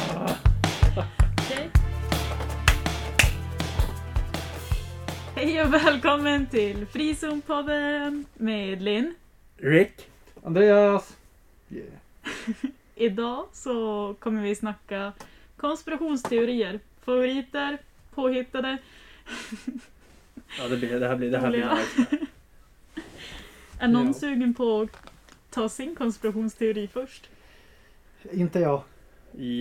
och välkommen till Frizonpodden med Linn. Rick. Andreas! Yeah. Idag så kommer vi snacka konspirationsteorier. Favoriter, påhittade. Ja, det, blir, det här blir... Det här Roliga. blir nice. Är någon Ja. sugen på att ta sin konspirationsteori först? Inte jag.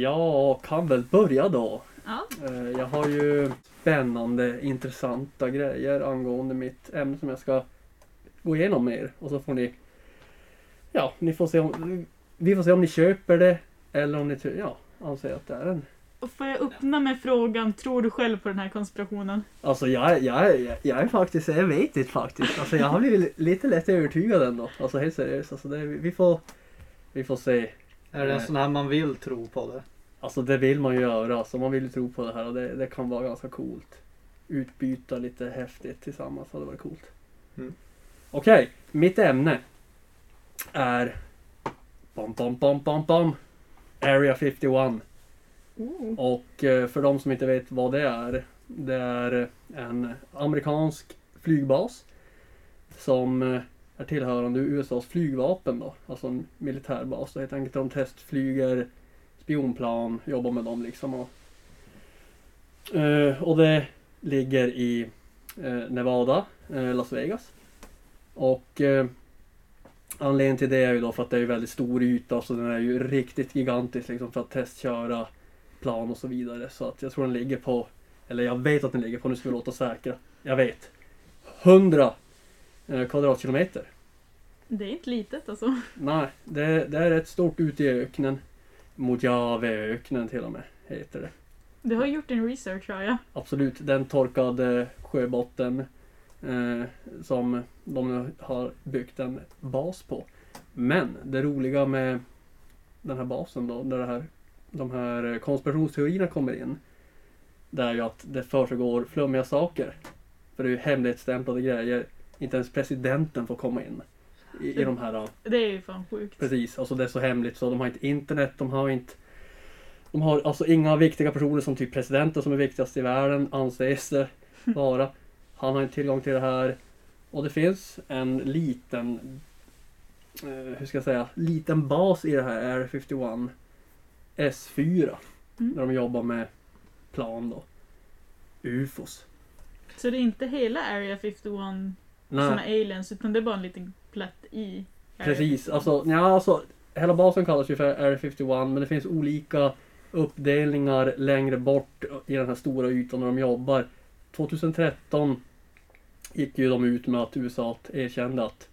Jag kan väl börja då. Ja. Eh, Jag har ju spännande, intressanta grejer angående mitt ämne som jag ska gå igenom med er. Och så får ni... Ja, ni får se om... Vi får se om ni köper det eller om ni ty- ja, anser att det är en... Och får jag öppna med frågan, tror du själv på den här konspirationen? Alltså jag, jag, jag, jag är faktiskt, jag vet inte faktiskt. Alltså jag har blivit lite lätt övertygad ändå. Alltså helt seriöst. Alltså det, vi får... Vi får se. Är det en Nej. sån här man vill tro på det? Alltså det vill man ju göra, alltså, man vill ju tro på det här och det, det kan vara ganska coolt. Utbyta lite häftigt tillsammans hade varit coolt. Mm. Okej, mitt ämne är... Bom, bom, bom, bom, bom. Area 51. Oh. Och eh, för de som inte vet vad det är. Det är en amerikansk flygbas. Som eh, är tillhörande USAs flygvapen då. Alltså en militärbas. Så helt enkelt de testflyger spionplan, jobbar med dem liksom. Och, eh, och det ligger i eh, Nevada, eh, Las Vegas. Och eh, anledningen till det är ju då för att det är ju väldigt stor yta så den är ju riktigt gigantisk liksom för att testköra plan och så vidare. Så att jag tror den ligger på, eller jag vet att den ligger på, nu ska vi låta säkra. Jag vet. 100 eh, kvadratkilometer. Det är inte litet alltså. Nej, det, det är rätt stort ute i öknen. Mojaveöknen till och med heter det. Du har gjort din research har jag. Absolut, den torkade sjöbotten eh, som de nu har byggt en bas på. Men det roliga med den här basen då, där det här, de här konspirationsteorierna kommer in, det är ju att det försiggår flummiga saker. För det är ju hemlighetsstämplade grejer. Inte ens presidenten får komma in i, i de här Det är ju fan sjukt. Precis, alltså det är så hemligt så de har inte internet, de har inte... De har alltså inga viktiga personer som typ presidenten som är viktigast i världen anses det vara. Han har inte tillgång till det här. Och det finns en liten... Eh, hur ska jag säga? Liten bas i det här Air 51 S4. Mm. Där de jobbar med plan då. UFOs. Så det är inte hela Area 51 som är aliens utan det är bara en liten plätt i. Area Precis, 51. alltså, ja, alltså hela basen kallas ju för Area 51 men det finns olika uppdelningar längre bort i den här stora ytan där de jobbar. 2013 gick ju de ut med att USA erkände att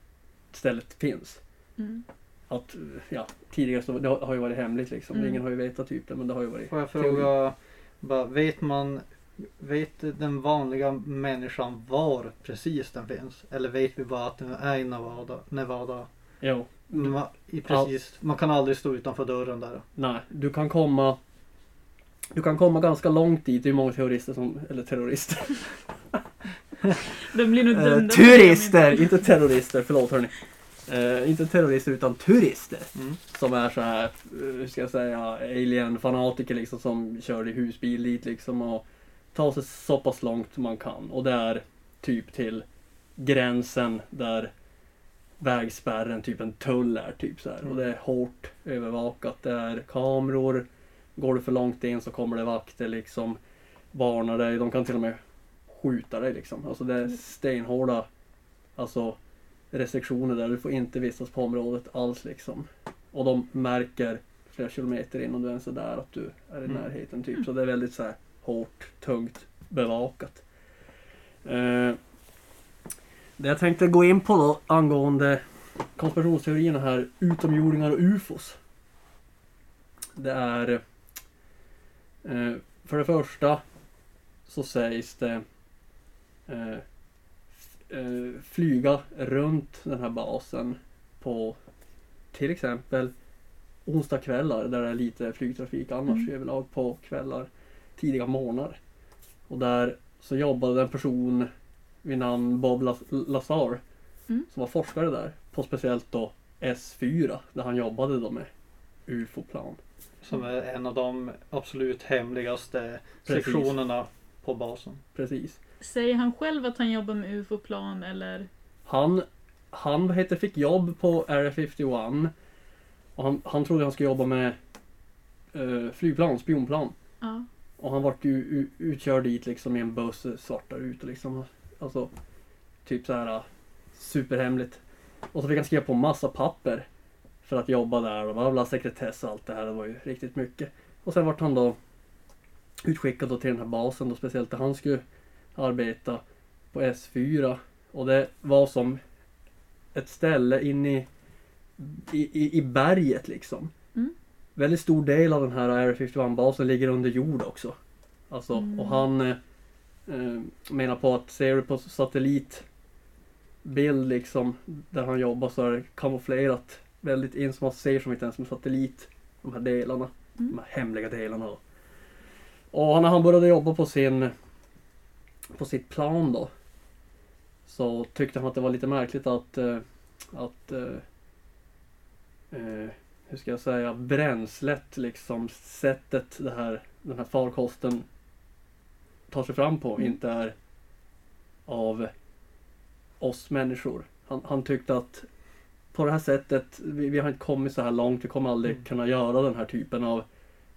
stället finns. Mm. Att, ja, tidigare så det har har ju varit hemligt liksom. Mm. Ingen har ju vetat typ det men det har ju varit. Får jag fråga, bara, vet man, vet den vanliga människan var precis den finns? Eller vet vi bara att den är i Nevada? Nevada? Jo, Ma- I precis, man kan aldrig stå utanför dörren där. nej, du kan komma du kan komma ganska långt dit. Det är ju många terrorister som, eller terrorister. De blir nog Eh, dömda. för det, turister! Inte terrorister, förlåt hörni. Eh, inte terrorister utan turister. Mm. Som är så här, eh, hur ska jag säga, alien-fanatiker liksom som kör i husbil dit liksom och tar sig så pass långt man kan. Och det är typ till gränsen där vägspärren, typ en tull är typ så här. Och det är hårt övervakat. Det är kameror. Går du för långt in så kommer det vakter liksom. Varnar dig. De kan till och med skjuta dig liksom. Alltså det är stenhårda alltså, restriktioner där. Du får inte vistas på området alls liksom. Och de märker flera kilometer innan du ens är där att du är i Mm. närheten typ. Så det är väldigt så här hårt, tungt bevakat. Eh, det jag tänkte gå in på då angående konspirationsteorierna här, utomjordingar och ufos. Det är... Eh, för det första så sägs det eh, f- eh, flyga runt den här basen på till exempel onsdagskvällar där det är lite flygtrafik annars Mm. överlag på kvällar, tidiga morgnar. Och där så jobbade en person vid namn Bob Las- Lazar Mm. som var forskare där på speciellt då S4 där han jobbade då med UFO-plan. Som är en av de absolut hemligaste Mm. Precis. sektionerna på basen. Precis. Säger han själv att han jobbar med UFO-plan eller? Han, han vad heter, fick jobb på Area 51. Och han, han trodde han skulle jobba med eh, flygplan, spionplan. Ja. Och han vart ju u- utkörd dit liksom i en buss, eh, svart där ute liksom. Alltså, typ så här eh, superhemligt. Och så fick han skriva på massa papper för att jobba där och bla bla, sekretess och allt det här. Det var ju riktigt mycket. Och sen vart han då utskickad då till den här basen då, speciellt där han skulle arbeta på S4. Och det var som ett ställe inne i, i, i- i berget liksom. Mm. Väldigt stor del av den här Area 51-basen ligger under jord också. Alltså, Mm. Och han eh, eh, menar på att ser du på satellitbild liksom där han jobbar så är det kamouflerat väldigt in så man ser som inte ens med satellit de här delarna. Mm. De här hemliga delarna. då. Och när han började jobba på sin på sitt plan då så tyckte han att det var lite märkligt att eh, att eh, eh, hur ska jag säga bränslet liksom sättet det här, den här farkosten tar sig fram på Mm. inte är av oss människor. Han, han tyckte att på det här sättet, vi, vi har inte kommit så här långt, vi kommer aldrig Mm. kunna göra den här typen av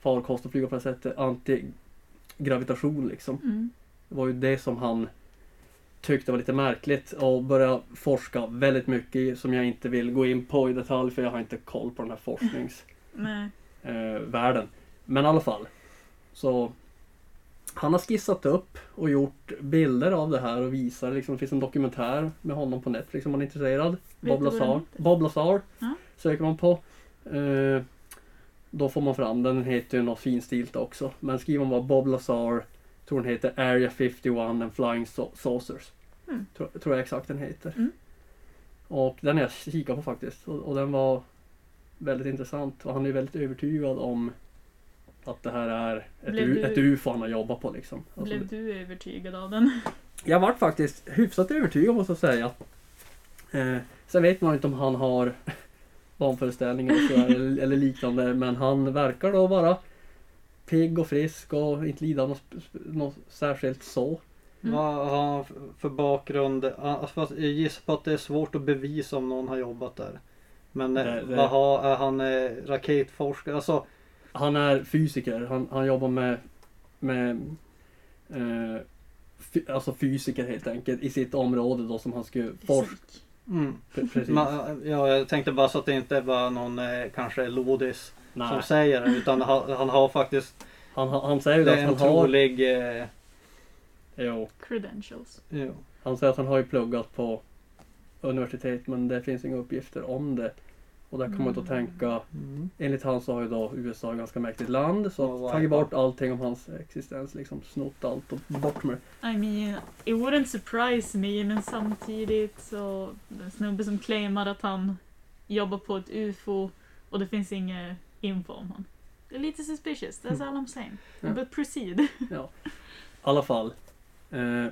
farkost och flyga på det här sättet, antigravitation liksom. Mm. Det var ju det som han tyckte var lite märkligt och började forska väldigt mycket i, som jag inte vill gå in på i detalj för jag har inte koll på den här Nej. forskningsvärlden. Men i alla fall. Så han har skissat upp och gjort bilder av det här och visar liksom, det finns en dokumentär med honom på Netflix om man är intresserad. du Bob vad den Lazar, heter? Bob Lazar Ja. söker man på. Eh, då får man fram den, den heter ju något finstilt också. Men skriver man bara Bob Lazar, tror den heter Area 51 and Flying Sau- Saucers. Mm. Tror, tror jag exakt den heter. Mm. Och den har jag kikat på faktiskt och, och den var väldigt intressant och han är väldigt övertygad om att det här är ett, Blev u- du- ett UFO han har jobbat på liksom. Alltså, Blev du övertygad av den? jag vart faktiskt hyfsat övertygad måste jag säga. Eh, sen vet man ju inte om han har vanföreställningar och sådär, eller, eller liknande men han verkar då vara pigg och frisk och inte lida av något, sp- sp- något särskilt så. Mm. Vad har han f- för bakgrund? Ah, fast Jag gissar på att det är svårt att bevisa om någon har jobbat där. Men eh, Det- det- vad har, är han eh, raketforskare? Alltså, Han är fysiker, han, han jobbar med, med eh, fy, alltså fysiker helt enkelt i sitt område då som han skulle forska. Fysik. mm. Precis. Man, ja, jag tänkte bara så att det inte är bara någon eh, kanske lodis Nej, som säger det. Utan han, han har faktiskt, han, han säger det ju är att han en har... trolig... Eh, Jo. Credentials. jo. Han säger att han har ju pluggat på universitet men det finns inga uppgifter om det. Och där kan man då Mm. tänka, Mm. enligt han så har ju då USA ett ganska mäktigt land så Oh, oh, tagit wow. bort allting om hans existens, liksom snott allt och bort med det. I mean, it wouldn't surprise me men samtidigt så den snubbe som claimar att han jobbar på ett UFO och det finns ingen info om honom. Det är lite suspicious, that's all I'm saying. Mm. Ja. But proceed. I alla fall. Eh,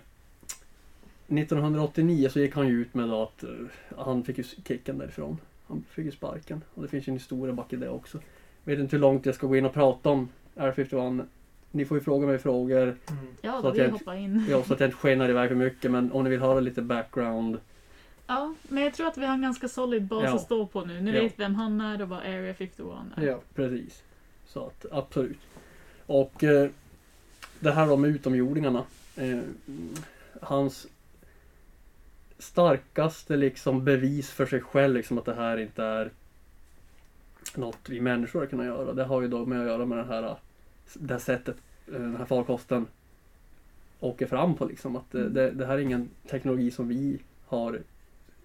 1989 så gick han ju ut med då att eh, han fick ju kicken därifrån. Han fick ju sparken. Och det finns ju en historia bak i det också. Vet inte hur långt jag ska gå in och prata om Air 51. Ni får ju fråga mig frågor. Mm. Ja, Så då att vi jag- hoppar in. Ja, så att jag inte skenar iväg för mycket men om ni vill höra lite background. Ja, men jag tror att vi har en ganska solid bas Ja. att stå på nu. Nu Ja. vet vem han är och vad Area 51 är. Ja. Precis. Så att absolut. Och eh, det här då med utomjordingarna. Eh, mm, hans starkaste liksom bevis för sig själv liksom att det här inte är något vi människor kan göra. Det har ju då med att göra med den här, det här sättet eh, den här farkosten åker fram på liksom. Att det, det, det här är ingen teknologi som vi har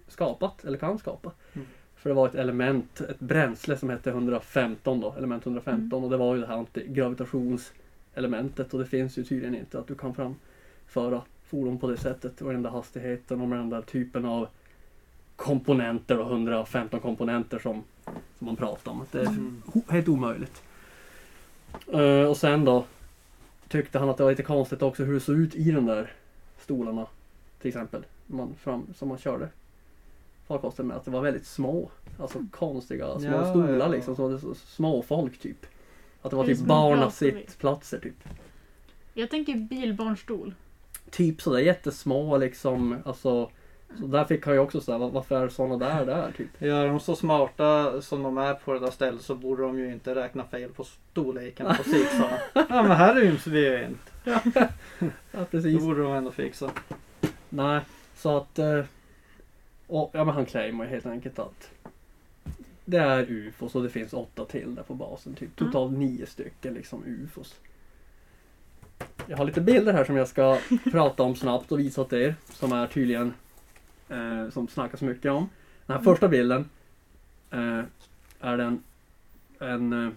skapat eller kan skapa. Mm. För det var ett element, ett bränsle som hette 115 då, element 115 Mm. och det var ju det här antigravitationselementet och det finns ju tydligen inte att du kan framföra fordon på det sättet och den där hastigheten och med den där typen av komponenter och 115 komponenter som, som man pratar om. Att det är Mm. ho- helt omöjligt. Eh, och sen då tyckte han att det var lite konstigt också hur det såg ut i den där stolarna. Till exempel man fram, som man körde farkosten med. Att det var väldigt små. Alltså konstiga små Ja, stolar ja. liksom. Som var så- små folk typ. Att det var Det är typ som en barnas pratstol. sittplatser typ. Jag tänker bilbarnstol. typ sådär jättesmå liksom. Alltså, så där fick han ju också såhär, "Va- varför är sådana där där typ? Ja, är de så smarta som de är på det där stället så borde de ju inte räkna fel på storleken på zigzag. ja men här ryms vi ju inte. Ja Det precis. borde de ändå fixa. Nej, så att... eh, Och, ja men han claimar ju helt enkelt att det är ufos och det finns åtta till där på basen. Typ. Mm. Totalt nio stycken liksom ufos. Jag har lite bilder här som jag ska prata om snabbt och visa åt er. Som är tydligen... Eh, som snackas mycket om. Den här Mm. första bilden eh, är den en, eh,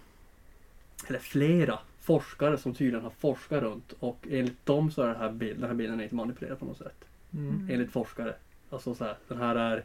eller flera forskare som tydligen har forskat runt och enligt dem så är den här, bild, den här bilden inte manipulerad på något sätt. Mm. Enligt forskare. Alltså så här, den här är...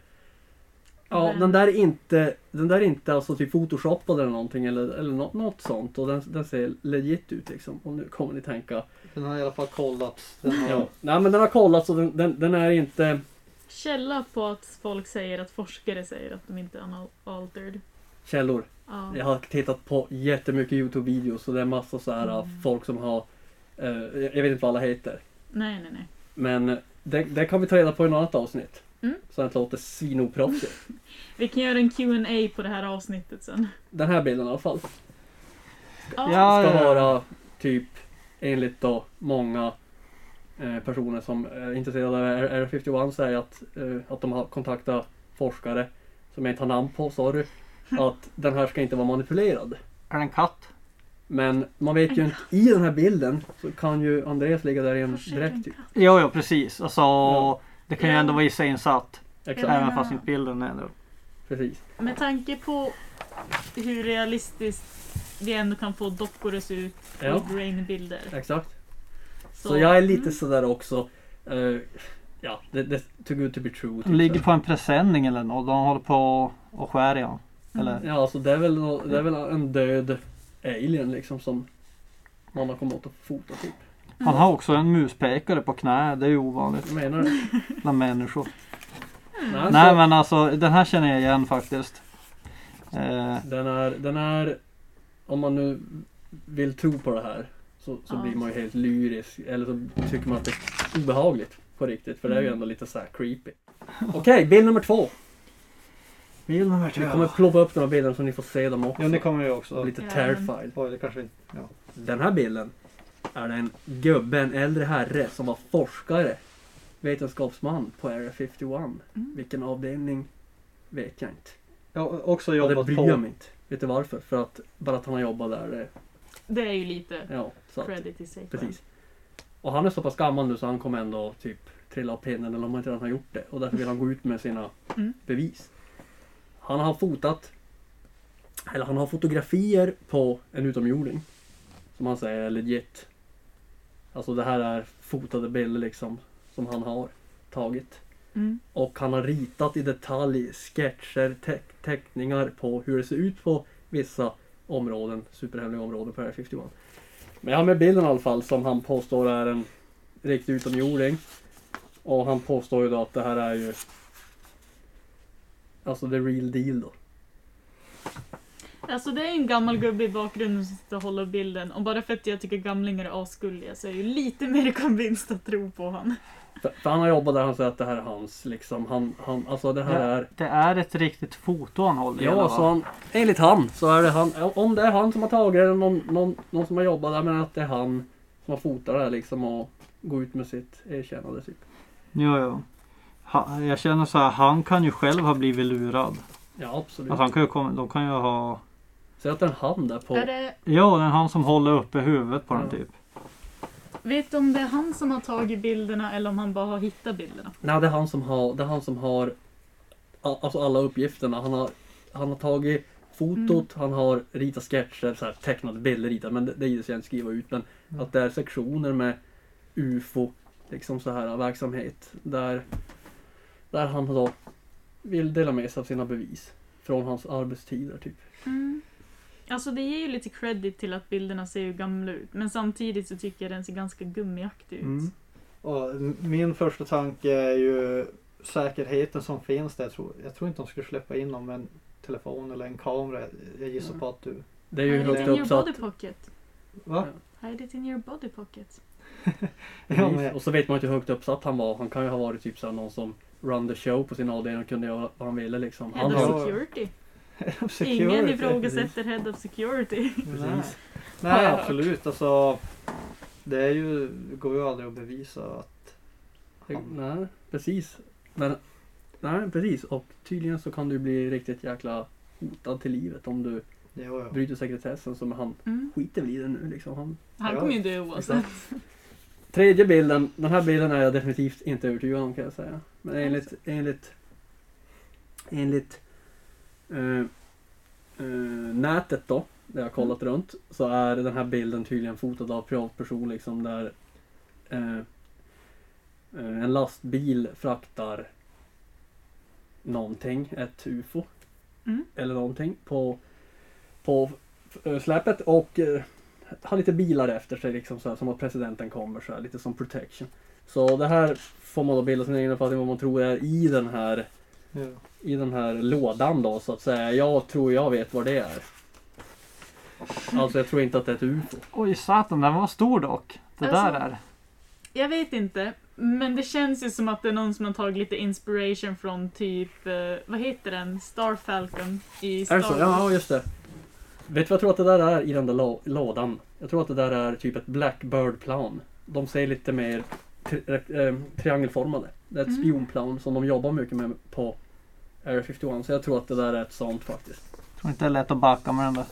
Ja, Men- den där är inte, den där är inte alltså typ photoshoppad eller någonting eller, eller något, något sånt och den, den ser legit ut liksom. Och nu kommer ni tänka. Den har i alla fall kollats. Den har... Ja. Nej men den har kollats och den, den, den är inte... Källa på att folk säger att forskare säger att de inte är unaltered. Källor. Ja. Jag har tittat på jättemycket Youtube-videos och det är massa så här Mm. folk som har... eh, jag jag vet inte vad alla heter. Nej, nej, nej. Men det, det kan vi ta reda på i något annat avsnitt. Mm. Så att det låter svinoproffsigt. Vi kan göra en Q&A på det här avsnittet sen. Den här bilden i alla fall. Ja. Ja, ska ja, ja. vara typ enligt då många eh, personer som är intresserade av Area 51 säger att, eh, att de har kontaktat forskare som jag inte har namn på, sorry. Hm. Att den här ska inte vara manipulerad. Är det en katt? Men man vet ju inte, i den här bilden så kan ju Andreas ligga där i en Forskare dräkt. ju. kan- Jo, ja precis. Alltså, Ja. det kan ju ändå Ja. vara iscensatt. Exakt, Ja. Även fast inte bilden är det. precis. Med tanke på hur realistiskt vi ändå kan få dockor att se ut Ja, och grainbilder. exakt. Så jag är lite mm. sådär också. eh, ja, det, det too good to be true. typ Den så ligger här. på en presenning eller något. De håller på och skär i den. Eller? Ja, alltså det är väl, nå- det är väl en död alien liksom som man har kommit åt att fota typ. Han har också en muspekare på knä. Det är ju ovanligt Jag menar det. bland människor. Nej, Nej så men alltså den här känner jag igen faktiskt. Eh, Den, är, den är, om man nu vill tro på det här så, så Ja. blir man ju helt lyrisk. Eller så tycker man att det är obehagligt på riktigt. För det är ju Mm. ändå lite så här creepy. Okej, bild nummer två. Bild nummer två. Vi kommer ploppa upp de här bilderna så ni får se dem också. Ja det kommer ju också. Och lite Ja, men- terrified. Oj det kanske vi ja. Den här bilden är det en gubbe, en äldre herre som var forskare, vetenskapsman på Area 51. Mm. Vilken avdelning vet jag inte. Jag också Och det jobbat bryr jag på. mig inte. Vet du varför? För att bara att han har jobbat där. det- Det är ju lite Ja, så att, credit i sig. precis. Och han är så pass gammal nu så han kommer ändå typ trilla av pinnen eller om han inte redan har gjort det. Och därför vill han gå ut med sina Mm. bevis. Han har fotat, eller han har fotografier på en utomjording. Som han säger är legit. Alltså det här är fotade bilder liksom som han har tagit. Mm. Och han har ritat i detalj sketcher, teck- teckningar på hur det ser ut på vissa områden, superhemliga områden på Area 51. Men jag har med bilden i alla fall som han påstår är en riktig utomjording. Och han påstår ju då att det här är ju Alltså the real deal då. Alltså det är ju en gammal Mm. gubbe i bakgrunden som sitter och håller bilden och bara för att jag tycker gamlingar är asgulliga så är jag ju lite mer convinced att tro på han. För, för han har jobbat där, han säger att det här är hans liksom. Han, han, alltså det här är Ja. Det är ett riktigt foto han håller i alla Ja, fall. så han, enligt han så är det han, om det är han som har tagit det eller någon, någon, någon som har jobbat där, men att det är han som har fotat det här liksom och går ut med sitt erkännande typ. Jo, jo. Ha, jag känner så här, han kan ju själv ha blivit lurad. Ja, absolut. Alltså han kan ju komma, de kan ju ha... Så att det är en hand där på... Är det, Ja, det är han som håller uppe huvudet på den Ja. typ. vet du om det är han som har tagit bilderna eller om han bara har hittat bilderna? Nej, det är han som har, det är han som har a- alltså alla uppgifterna. Han har, han har tagit fotot, han har ritat sketcher, så här, tecknat bilder, ritat, men det, det gills jag inte skriva ut. Men Mm. att det är sektioner med UFO, liksom så här verksamhet, där, där han då vill dela med sig av sina bevis från hans arbetstider typ. Alltså det ger ju lite credit till att bilderna ser ju gamla ut men samtidigt så tycker jag den ser ganska gummiaktig ut. Mm. Och m- min första tanke är ju säkerheten som finns där. Jag tror, jag tror inte de skulle släppa in dem med en telefon eller en kamera. Jag gissar Mm. på att du... Det är ju Hide it högt in your upp så body att, pocket. Va? Ja. Hide it in your body pocket. Ja, Precis. men, Och så vet man ju inte hur högt uppsatt han var. Han kan ju ha varit typ såhär någon som run the show på sin avdelning och kunde göra vad han ville liksom. Han Head har- of hade, security. security. Ingen ifrågasätter head of security. Nej, precis. Har Nej jag hört. absolut. Alltså, det är ju, går ju aldrig att bevisa att han... Nej, precis. Men, nej, precis. Och tydligen så kan du bli riktigt jäkla hotad till livet om du Jo, jo. bryter sekretessen som han Mm. skiter väl i det nu liksom. Han... Han Ja. kommer ju dö oavsett. Tredje bilden. Den här bilden är jag definitivt inte övertygad om kan jag säga. Men enligt, enligt, enligt eh, eh, nätet då, där jag har kollat runt, så är den här bilden tydligen fotad av privatperson liksom där eh, eh, en lastbil fraktar någonting, ett UFO Mm. eller någonting på, på eh, släpet och eh, har lite bilar efter sig liksom så här, som att presidenten kommer så här, lite som protection. Så det här får man då bilda sin egen uppfattning om vad man tror är i den här Ja. i den här lådan då så att säga. Jag tror jag vet vad det är. Alltså jag tror inte att det är ett UFO. Oj satan, den var stor dock. Det Alltså- där är. Jag vet inte. Men det känns ju som att det är någon som har tagit lite inspiration från typ, eh, vad heter den? Star Falcon i Är Star det så? Ja, just det. Vet du vad jag tror att det där är i den där lå- lådan? Jag tror att det där är typ ett Blackbird-plan. De ser lite mer tri- eh, triangelformade. Det är ett Mm. spionplan som de jobbar mycket med på Area 51. Så jag tror att det där är ett sånt faktiskt. Tror inte det är lätt att backa med den där.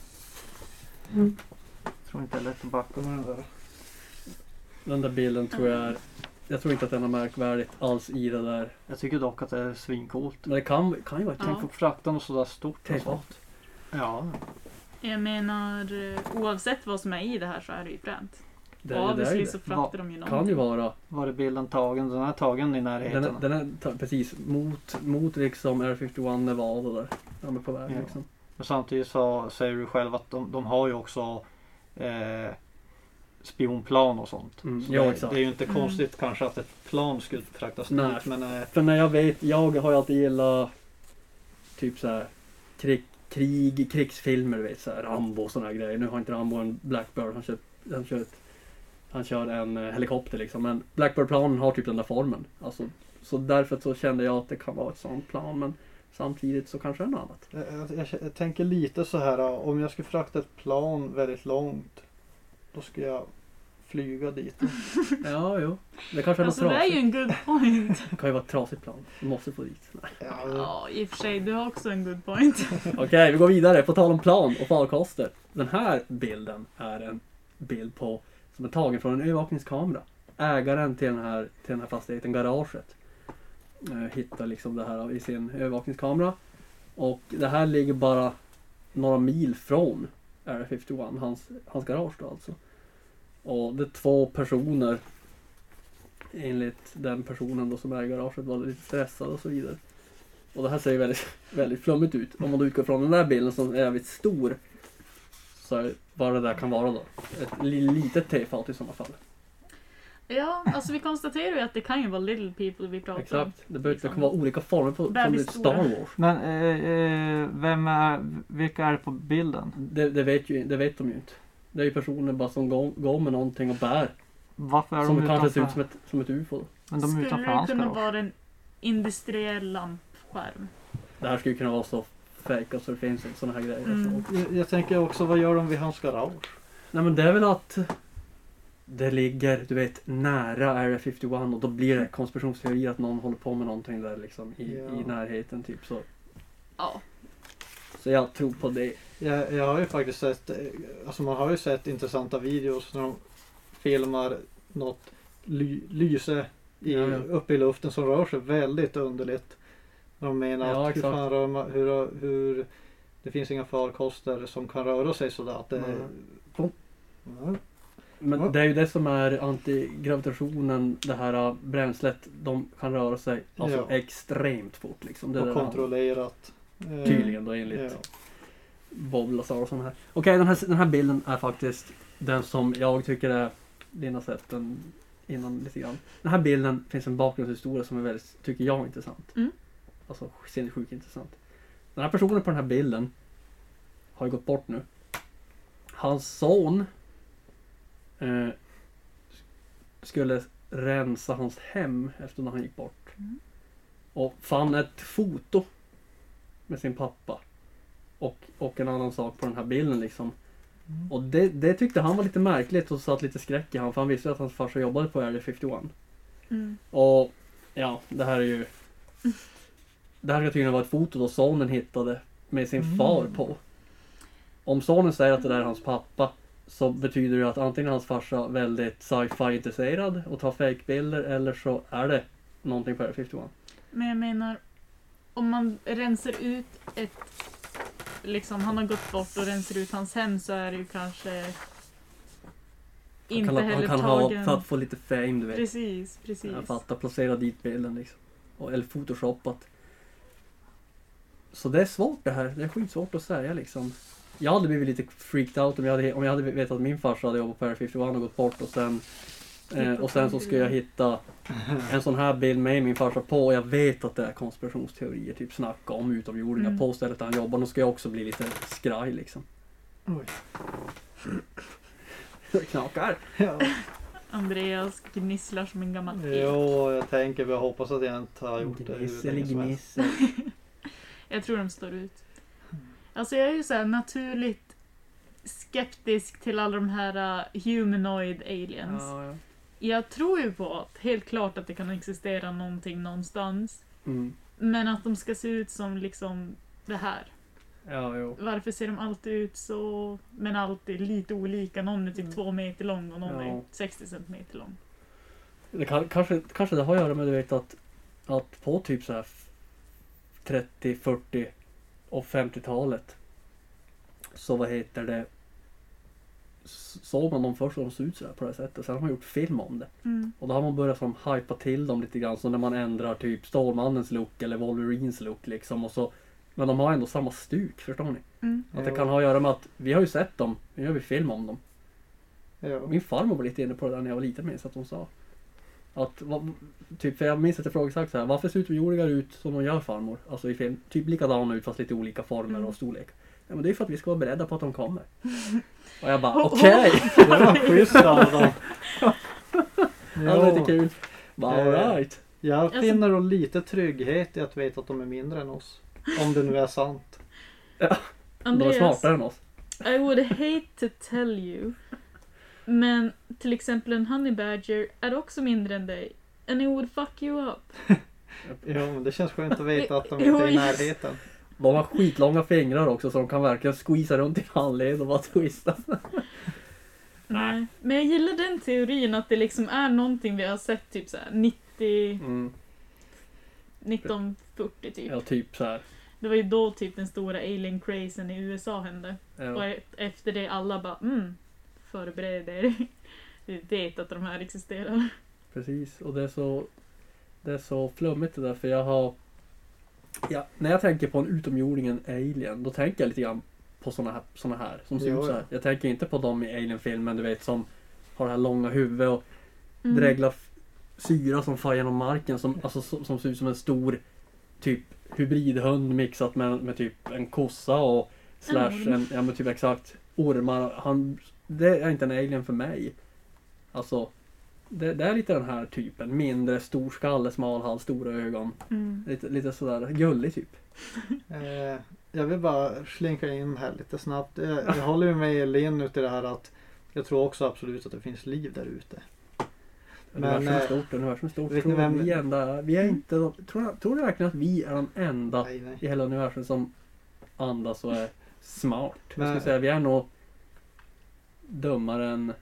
Mm. Tror inte det är lätt att backa med den där. Den där bilden tror jag är... Jag tror inte att den är märkvärdigt alls i det där. Jag tycker dock att det är svincoolt. Men det kan, kan ju vara ett Ja. Tänk att frakta något sådär stort. och så. tejpat. Ja. Jag menar, eh, oavsett vad som är i det här så är det ju fränt. Det, är- det, är ju Obviously så det. fraktar de ju någonting. kan ju vara... Var är bilden tagen? Den är tagen i närheten. Den är, den är ta- precis mot, mot liksom Air 51 Nevada där. De är på väg Ja. liksom. Men samtidigt så säger du själv att de, de har ju också eh, spionplan och sånt. Mm, Så ja, det, exakt. det är ju inte Mm. konstigt kanske att ett plan skulle fraktas Nej. dit. Men eh, För när jag vet, jag har ju alltid gillat typ så här krig, krig krigsfilmer, du vet så här Rambo och såna här grejer. Nu har inte Rambo en Blackbird, han kör, han kör, ett, han kör en eh, helikopter liksom. Men Blackbird-planen har typ den där formen. Alltså, så därför så kände jag att det kan vara ett sånt plan men samtidigt så kanske det är något annat. jag, Eh, alltså, jag, jag tänker lite så här. ja, Om jag skulle frakta ett plan väldigt långt. Då ska jag flyga dit. Ja, jo. Det kanske är något Alltså det är ju trasigt. en good point. Det kan ju vara ett trasigt plan. Du måste få dit. Nej. Ja, Ja, i och för sig, du har också en good point. Okej, vi går vidare. På tal om plan och farkoster. Den här bilden är en bild på som är tagen från en övervakningskamera. Ägaren till den här, till den här fastigheten, garaget, eh, hittar liksom det här i sin övervakningskamera. Och det här ligger bara några mil från Area 51, hans, hans garage då alltså. Och det är två personer enligt den personen då som äger garaget var lite stressad och så vidare. Och det här ser ju väldigt, väldigt flummigt ut. Om man då utgår från den där bilden som är jävligt stor. Så är vad det där kan vara då. Ett li- litet tefat i sådana fall. Ja, alltså vi konstaterar ju att det kan ju vara little people vi pratar om. Exakt. Det, behöver, det kan vara olika former på som Bebis det Star stora. Wars. Men eh, eh, vem är, vilka är det på bilden? Det, det, vet ju, det vet de ju inte. Det är ju personer bara som går, går med någonting och bär. Varför är Som de kanske ser ut som utanför? ett, som ett UFO. Men de är Skulle utanför det hans kunna garage. vara en industriell lampskärm? Det här skulle ju kunna vara så fejk och så det finns inte sådana här grejer. Mm. Jag, jag tänker också, vad gör de vid hans garage? Nej men det är väl att det ligger, du vet, nära Area 51 och då blir det konspirationsteorier att någon håller på med någonting där liksom i, Ja. i närheten typ så. Ja. Så jag tror på det. Jag, jag har ju faktiskt sett, eh, alltså man har ju sett intressanta videos när de filmar något ly, lyse i, Ja, ja. uppe i luften som rör sig väldigt underligt. När de menar Ja, att hur, exakt. fan rör man, hur, hur det finns inga farkoster som kan röra sig sådär. Att det, Nej. Ja. Men Ja. det är ju det som är antigravitationen, det här äh, bränslet. De kan röra sig alltså Ja. extremt fort liksom. Det och är det där- kontrollerat. Eh, Tydligen då enligt Ja. Bob Lazarusson här. Okej, den, här, den här bilden är faktiskt den som jag tycker är... Lina har sett den innan lite grann. Den här bilden finns en bakgrundshistoria som är väldigt, tycker jag, intressant. Mm. Alltså sinnessjukt intressant. Den här personen på den här bilden har ju gått bort nu. Hans son eh, skulle rensa hans hem efter när han gick bort. Mm. Och fann ett foto med sin pappa. Och, och en annan sak på den här bilden liksom. Mm. Och det, det tyckte han var lite märkligt och satt lite skräck i han för han visste ju att hans farsa jobbade på Area 51. Mm. Och ja, det här är ju... Det här ska tydligen vara ett foto då sonen hittade med sin Mm. far på. Om sonen säger att det där är hans pappa så betyder det att antingen är hans farsa väldigt sci-fi intresserad och tar fake-bilder eller så är det någonting på Area 51. Men jag menar, om man rensar ut ett... Liksom, han har gått bort och rensar ut hans hem så är det ju kanske... Han Inte kan, heller han kan ha tagen... för att få lite fame du vet. Precis, precis. Jag fattar, placera dit bilden liksom. Och, eller photoshopat. Så det är svårt det här. Det är skitsvårt att säga liksom. Jag hade blivit lite freaked out om jag hade, om jag hade vetat att min farsa hade jobbat på Area 51 och gått bort och sen eh, och sen så skulle jag hitta en sån här bild med min farsa på och jag vet att det är konspirationsteorier, typ snacka om utomjordingar Mm. på stället där han jobbar. Då ska jag också bli lite skraj liksom. Oj. Jag knakar! Ja. Andreas gnisslar som en gammal ek. Jo, jag tänker, jag hoppas att jag inte har gjort det. hur Gnissel i länge som helst. gnissel. Jag tror de står ut. Alltså jag är ju så här naturligt skeptisk till alla de här uh, humanoid aliens. Ja, ja. Jag tror ju på att helt klart att det kan existera någonting någonstans. Mm. Men att de ska se ut som liksom det här. Ja, jo. Varför ser de alltid ut så, men alltid lite olika? Någon är typ Mm. två meter lång och någon Ja. är 60 centimeter lång. Det kan, kanske, kanske det har att göra med du vet att, att på typ så här 30, 40 och 50-talet så vad heter det s- såg man dem först och de såg ut sådär på det här sättet. Sen har man gjort film om det. Mm. Och då har man börjat som hypa till dem lite grann. Så när man ändrar typ Stålmannens look eller Wolverines look liksom. Och så, men de har ändå samma stuk, förstår ni? Mm. Att det Jo, kan ha att göra med att vi har ju sett dem, nu gör vi film om dem. jo. Min farmor var lite inne på det där när jag var liten minns jag att hon sa. Att, vad, typ, för jag minns att jag frågade exakt så här, varför ser utomjordingar ut som de gör farmor? Alltså i film, typ likadana ut fast lite olika former Mm. och storlek. Ja, men det är för att vi ska vara beredda på att de kommer. Och jag bara Ho- okej! Det var schysst av dem. Ja, det är lite Jo, kul. Bara Eh. alright. Jag Alltså- finner då lite trygghet i att veta att de är mindre än oss. Om det nu är sant. De är Andreas, smartare än oss. I would hate to tell you. Men till exempel en honey badger är också mindre än dig. And it would fuck you up. Jo, men det känns skönt att veta att de Jo, inte är i just. närheten. De har skitlånga fingrar också så de kan verkligen squeeza runt i handled och bara twista. Nej. Men jag gillar den teorin att det liksom är någonting vi har sett typ såhär 90, 1940 typ. Ja, typ så här. Det var ju då typ den stora alien crazen i USA hände. Och Ja. e- efter det alla bara mm, förbered er. Vi vet att de här existerar. Precis, och det är så, det är så flummigt det där för jag har... Ja, när jag tänker på en utomjording, en alien, då tänker jag lite grann på såna här, såna här som ser Jo, ut så här. ja. Jag tänker inte på dem i Alien-filmen du vet som har det här långa huvudet och Mm. dreglar f- syra som far genom marken som, alltså, som, som ser ut som en stor typ hybridhund mixat med, med typ en kossa och slash orm. en, ja men typ exakt ormar. Han, det är inte en alien för mig. Alltså det, det är lite den här typen. Mindre, stor skalle, smal hals, stora ögon. Mm. Lite, lite sådär gullig typ. Eh, jag vill bara slinka in här lite snabbt. Eh, jag håller ju med Linn ut i det här att jag tror också absolut att det finns liv där ute. Men, universum är eh, stort, universum är stort. vet Tror ni vem- vi, enda, vi är inte de, tror, tror ni verkligen att vi är de enda Nej, nej. i hela universum som andas och är smart. Jag skulle Nej. säga vi är nog dummare än,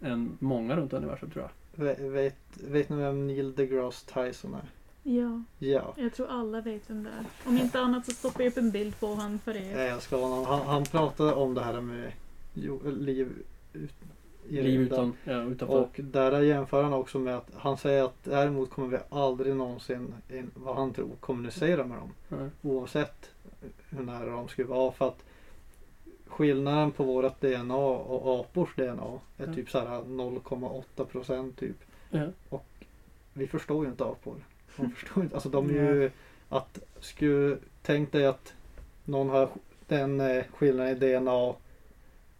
än många runt universum tror jag. Ve- Vet, vet ni vem Neil deGrasse Tyson är? Ja, Ja. jag tror alla vet vem det är. Om inte annat så stoppar jag upp en bild på honom för Eh, er. jag ska vara någon. Han, han pratade om det här med jo, liv ut, i Liv rymden. utan, ja, utanför. Och där jämför han också med att han säger att däremot kommer vi aldrig någonsin, in- vad han tror, kommunicera med dem. Nej. Oavsett hur nära de skulle vara. För att skillnaden på vårt DNA och apors DNA är Ja. typ så här 0,8 procent typ. Ja. Vi förstår ju inte apor. De förstår inte. Alltså de är ju att, skulle, tänk dig att någon har den eh, skillnaden i DNA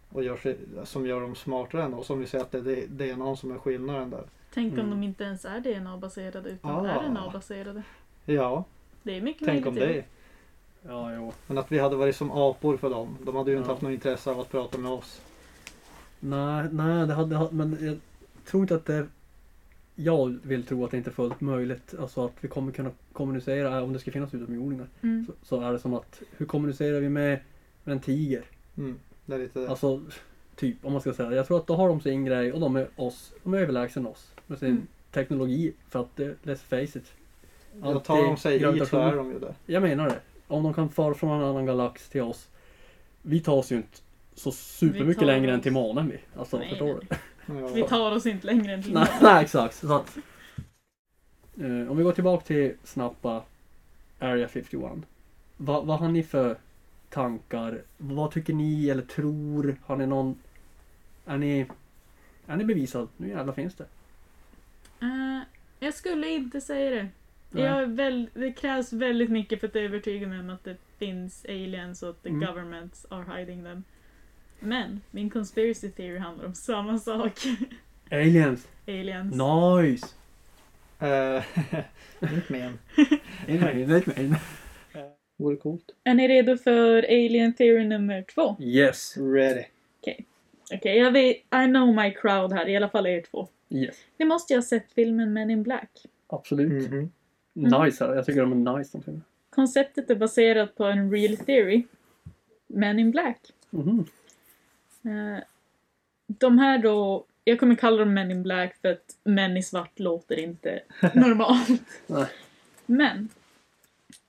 och gör sig, som gör dem smartare än oss. Om vi säger att det är DNA som är skillnaden där. Tänk om Mm. de inte ens är DNA-baserade utan Ah. är DNA-baserade. Ja, Det är mycket tänk om möjligt ju. det. Ja, jo. Men att vi hade varit som apor för dem. De hade ju inte Ja. haft något intresse av att prata med oss. Nej, nej det hade, men jag tror inte att det... Jag vill tro att det inte är fullt möjligt. Alltså att vi kommer kunna kommunicera, om det ska finnas utomjordingar. Mm. Så, så är det som att, hur kommunicerar vi med, med en tiger? Mm, det är lite det. Alltså, typ om man ska säga. Jag tror att då har de sin grej och de är oss. De är överlägsna oss med sin Mm. teknologi. För att, eh, let's face it. jag tar de sig hit så antigravitation. är de ju det. Jag menar det. Om de kan fara från en annan galax till oss. Vi tar oss ju inte så Vi tar supermycket längre oss- än till månen vi. Alltså, Nej, förstår nej, du? Ja. Vi tar oss inte längre än till Nej, nej exakt. Så att, eh, om vi går tillbaka till snabba Area 51. Va, vad har ni för tankar? Vad tycker ni eller tror? Har ni någon... Är ni, är ni bevisad? Nu jävlar finns det. Eh, jag skulle inte säga det. Nej. Jag är väl, det krävs väldigt mycket för att övertyga mig om att det finns aliens och att the Mm. governments are hiding them. Men min conspiracy theory handlar om samma sak. Aliens! aliens. Nice! Eh, Inte men. Vore coolt. Är ni redo för alien theory nummer två? Yes! Ready. Okej, jag vet, I know my crowd här, i alla fall er två. Yes! Ni måste ju ha sett filmen Men in Black. Absolut. Mhm. Nice här. Jag tycker de är nice de filmerna. Konceptet är baserat på en real theory. Men in Black. Mhm. Eh, De här då, jag kommer kalla dem män in black för att män i svart låter inte normalt. Nej. Men,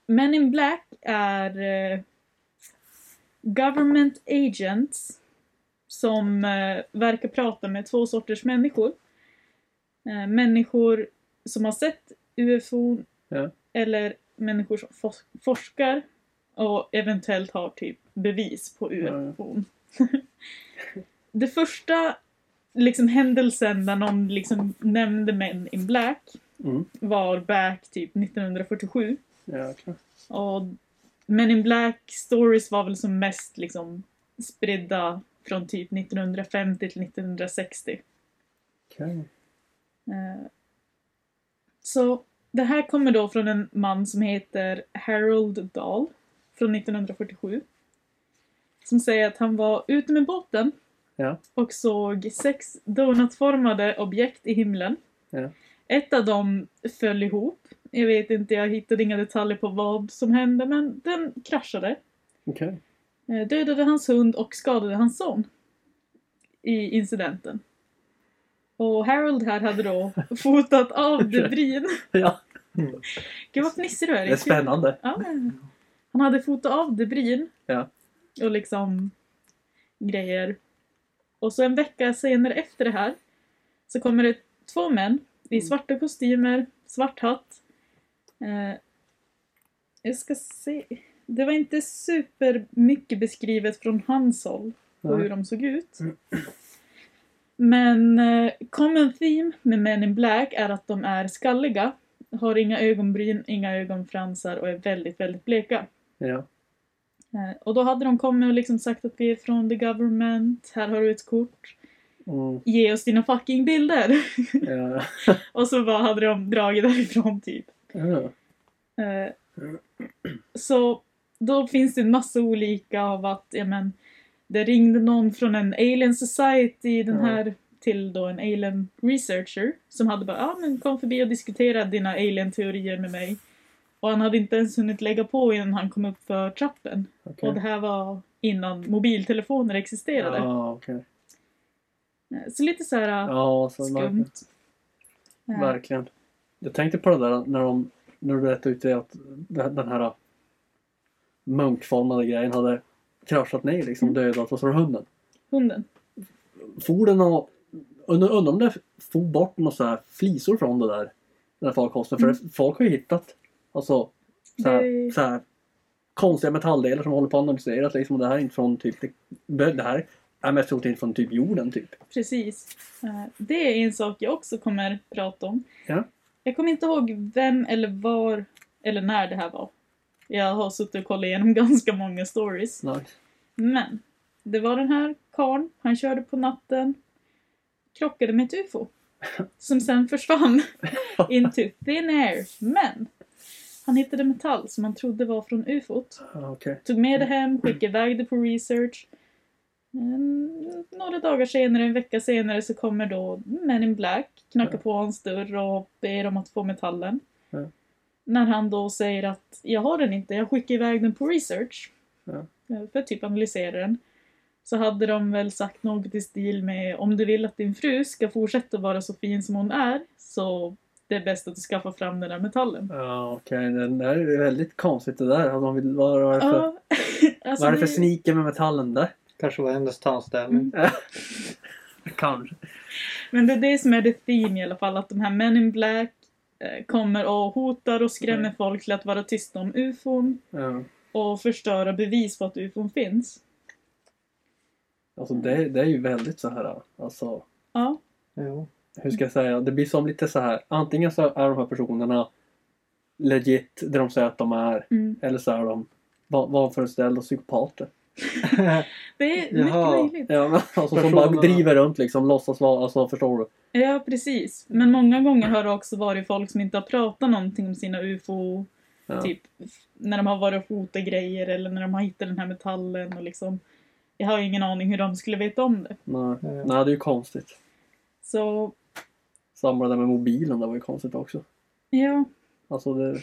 män in black är eh, government agents som eh, verkar prata med två sorters människor. Eh, människor som har sett UFO Ja. eller människor som fos- forskar och eventuellt har typ bevis på Ja, UFO. Det första liksom, händelsen där någon liksom, nämnde Men in Black Mm. var back typ 1947. Ja, klar. Och Men in Black stories var väl som mest liksom, spridda från typ 1950 till 1960. Okej. Eh, Så det här kommer då från en man som heter Harold Dahl från 1947. Som säger att han var ute med båten Ja. och såg sex donutformade objekt i himlen. Ja. Ett av dem föll ihop. Jag vet inte, jag hittade inga detaljer på vad som hände men den kraschade. Okej. Eh, dödade hans hund och skadade hans son i incidenten. Och Harold här hade då fotat av debrin. Ja, Gud vad fnissig du är. det är kul. spännande. Ja. Han hade fotat av debrin. Ja. Och liksom grejer. Och så en vecka senare efter det här så kommer det två män i Mm. svarta kostymer, svart hatt. Eh, jag ska se. Det var inte super mycket beskrivet från hans håll på Nej. Mm. hur de såg ut. Men eh, common theme med Men in Black är att de är skalliga, har inga ögonbryn, inga ögonfransar och är väldigt, väldigt bleka. Ja. Eh, Och då hade de kommit och liksom sagt att vi är från the government, här har du ett kort, Mm. ge oss dina fucking bilder! Ja. Och så bara hade de dragit därifrån typ. Ja. Eh, Så då finns det en massa olika av att, ja men, det ringde någon från en alien society den Ja. här till då en alien researcher som hade bara, ja ah, men kom förbi och diskutera dina alien-teorier med mig. Och han hade inte ens hunnit lägga på innan han kom upp för trappen. Okej. Och det här var innan mobiltelefoner existerade. Ja, okej. Så lite så här äh, Ja, så verkligen. skumt. Äh, verkligen. Jag tänkte på det där när de, när du rättade ut det att den den här äh, munkformade grejen hade kraschat ner liksom, dödat och så var det hunden. Hunden. For den och undrar undrar om det for bort några så här flisor från det där, den här farkosten. För det, folk har ju hittat alltså så här, Det- så här konstiga metalldelar som håller på att analyseras liksom. Och det här är inte från typ, det, det här är mest troligt inte från typ jorden typ. Precis. Äh, Det är en sak jag också kommer prata om. Ja. Jag kommer inte ihåg vem eller var eller när det här var. Jag har suttit och kollat igenom ganska många stories. Nice. Men det var den här karln, han körde på natten, krockade med ett UFO. Som sen försvann into thin air. Men! Han hittade metall som han trodde var från UFOt. Ah, Okej. Tog med det hem, skickade iväg det på research. Mm, Några dagar senare, en vecka senare, så kommer då Men in Black, knackar på hans dörr och ber om att få metallen. Ja. När han då säger att jag har den inte, jag skickar iväg den på research. Ja. Eh, För att typ analysera den. Så hade de väl sagt något i stil med om du vill att din fru ska fortsätta vara så fin som hon är så det är bäst att du skaffar fram den där metallen. Ja, okej. Det där är väldigt konstigt det där. Alltså, de vill- vad vad är det för, Ja, alltså vad är det för det- sneaker med metallen där? Kanske var hennes tandställning. Kanske. Men det är det som är det theme i alla fall, att de här Men in Black eh, kommer och hotar och skrämmer Mm. folk till att vara tysta om ufon Ja. och förstöra bevis på att ufon finns. Alltså det, det är ju väldigt så här. Alltså, Ja, Jo. hur ska jag säga? Det blir som lite så här. Antingen så är de här personerna legit, det de säger att de är. mm. Eller så är de va- vanföreställda psykopater. det är Jaha. mycket möjligt. Ja, men, alltså, som Personerna- bara driver runt liksom, låtsas vara, alltså förstår du? Ja, precis. Men många gånger har det också varit folk som inte har pratat någonting om sina ufo, Ja. typ f- när de har varit och hotat grejer eller när de har hittat den här metallen och liksom. Jag har ingen aning hur de skulle veta om det. Nej. Ja. Nej, det är ju konstigt. Så, Samma det där med mobilen, det var ju konstigt också. ja. Alltså det...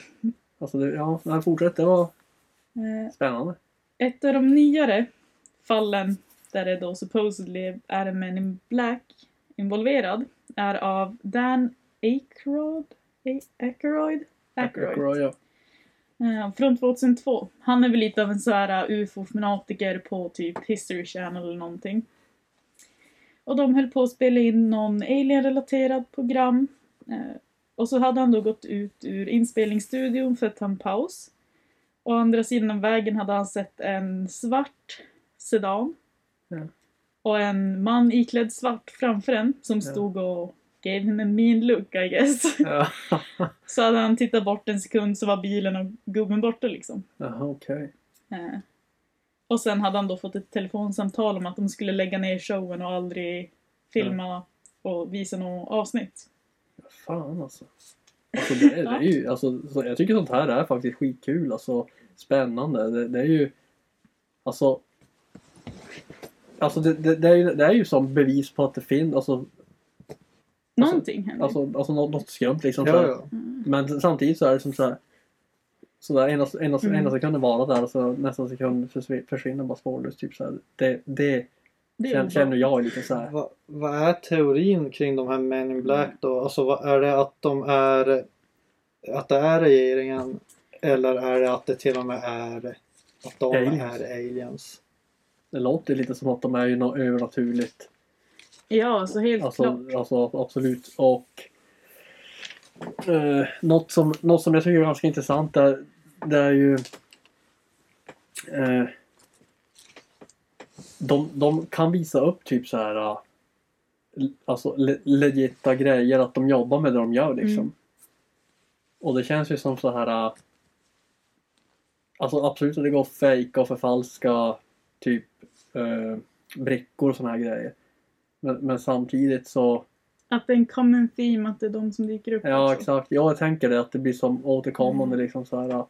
Alltså det, ja, nej, fortsätt. Det var Eh, spännande. Ett av de nyare fallen där det då supposedly är en man in black involverad är av Dan Aykroyd. A- Aykroyd? Aykroyd. Aykroyd, ja. Eh, Från 2002. Han är väl lite av en så här eh, ufo-fanatiker på typ History Channel eller någonting. Och de höll på att spela in någon alien-relaterad program. Eh, Och så hade han då gått ut ur inspelningsstudion för att ta en paus. Å andra sidan vägen hade han sett en svart sedan. Ja. Och en man iklädd svart framför en som Ja. stod och gave him a mean look I guess. Ja. Så hade han tittat bort en sekund så var bilen och gubben borta liksom. Jaha, okej. Eh. Och sen hade han då fått ett telefonsamtal om att de skulle lägga ner showen och aldrig Mm. filma och visa något avsnitt. Fan alltså. alltså, det, det är ju, alltså så jag tycker sånt här är faktiskt skitkul. Alltså, spännande. Det, det är ju... Alltså... Alltså det, det, det, är ju, det är ju som bevis på att det finns alltså, Någonting hände. Mm. alltså, alltså något, något skumt liksom. så här. Ja, ja. Men samtidigt så är det som så här. Så där ena, ena, Mm. ena sekunden vara där och så nästa sekund försvi- försvinner bara spårlöst. Typ så här. Det, det, det är känner, känner jag är lite så här. Va, vad är teorin kring de här Men in Black då? Alltså vad är det att de är att det är regeringen eller är det att det till och med är att de Aliens. är aliens? Det låter lite som att de är ju något övernaturligt. Ja, så helt klart. Alltså, alltså absolut. Och eh, något, som, något som jag tycker är ganska intressant är, det är ju eh, de, de kan visa upp typ så här eh, alltså le, legita grejer att de jobbar med det de gör liksom. Mm. Och det känns ju som så här eh, alltså absolut att det går att fejka och förfalska typ eh, brickor och såna här grejer. Men, men samtidigt så, Att det är en common theme att det är de som dyker upp ja också. exakt, ja, jag tänker det att det blir som återkommande Mm. liksom så här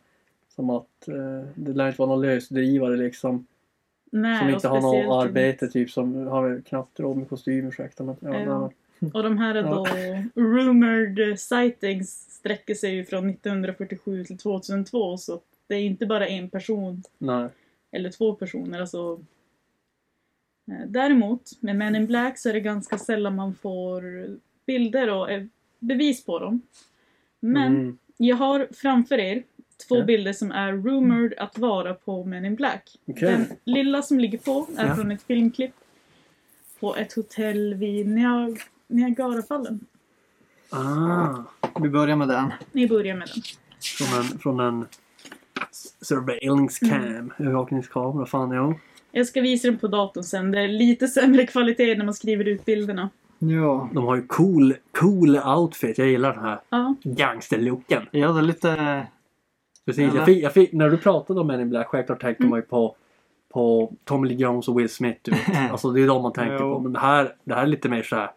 som att eh, det lär inte vara någon lösdrivare liksom Nej, som och inte har speciellt något inte. arbete typ som har väl knappt råd med kostym ursäkta men ja, Ja. nej, Och de här är då rumored sightings sträcker sig ju från 1947 till 2002 så det är inte bara en person nej. eller två personer. Alltså. Eh, Däremot med Men in Black så är det ganska sällan man får bilder och eh, bevis på dem. Men Mm. jag har framför er två Ja. bilder som är rumored att vara på Men in Black. Okej. Den lilla som ligger på är Ja. från ett filmklipp på ett hotell vid Niag- Niagarafallen. Ah, Vi börjar med den. Ni börjar med den. från en, från en surveillance cam, Mm. övervakningskamera, fan ja. Jag ska visa den på datorn sen. Det är lite sämre kvalitet när man skriver ut bilderna. Ja. De har ju cool, cool outfit, jag gillar den här Ja, gangsterlooken. Ja, det är lite... Precis, Ja, Mm. jag fick, jag fick, när du pratade om Men in Black, självklart tänkte man ju på, på Tommy Lee Jones och Will Smith. Du vet. Alltså det är de man tänker Jo. på. Men det här, det här är lite mer så här,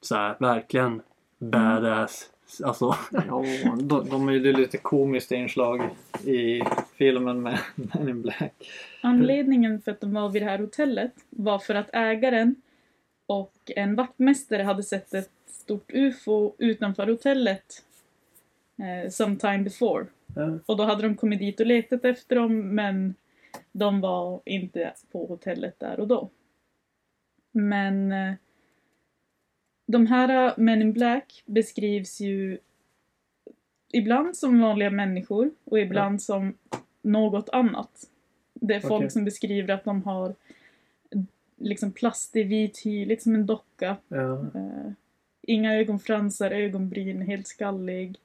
så här verkligen badass. Alltså, Ja, de, de är ju det är lite komiskt inslag i filmen med Men in Black. Anledningen för att de var vid det här hotellet var för att ägaren och en vaktmästare hade sett ett stort UFO utanför hotellet eh, sometime before. eh, Och då hade de kommit dit och letat efter dem men de var inte på hotellet där och då. Men eh, de här eh, Men in Black beskrivs ju ibland som vanliga människor och ibland som något annat. Det är folk Okej. som beskriver att de har eh, liksom plastig vit hy, liksom en docka. ja. Eh, inga ögonfransar, ögonbryn, helt skallig.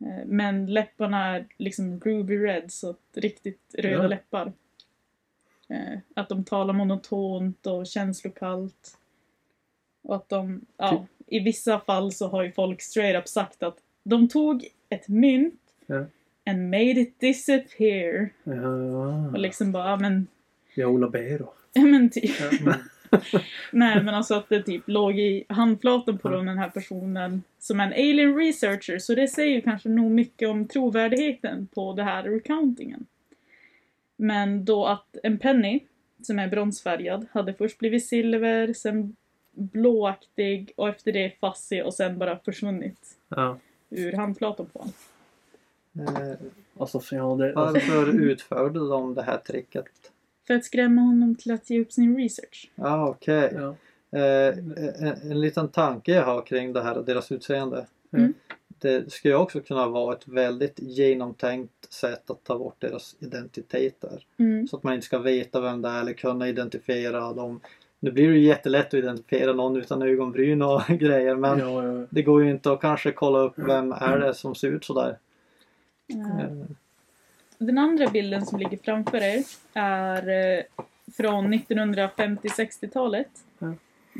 Eh, men läpparna är liksom ruby red, så att riktigt röda Ja. läppar. Eh, att de talar monotont och känslokallt. Och att de, ja, Typ. i vissa fall så har ju folk straight up sagt att de tog ett mynt Ja. and made it disappear. Och ja. liksom bara, ja, men, Jag Ola Beiro. ja, men typ. Ja. Nej men alltså att det typ låg i handflatan på den här personen som en alien researcher så det säger ju kanske nog mycket om trovärdigheten på det här recountingen. Men då att en penny, som är bronsfärgad, hade först blivit silver, sen blåaktig och efter det fassig och sen bara försvunnit Ja. ur handflatan på honom. Eh, Alltså, så ja, det, alltså, varför utförde de det här tricket? För att skrämma honom till att ge upp sin research. Ja, ah, okej. ja. Eh, en, en liten tanke jag har kring det här och deras utseende. Mm. Det skulle också kunna vara ett väldigt genomtänkt sätt att ta bort deras identiteter. Mm. Så att man inte ska veta vem det är eller kunna identifiera dem. Nu blir det ju jättelätt att identifiera någon utan ögonbryn och grejer men Ja, ja. det går ju inte att kanske kolla upp vem är det som ser ut sådär. Eh, Eh, Mm. Den andra bilden som ligger framför er är eh, från 1950-60-talet. Ja.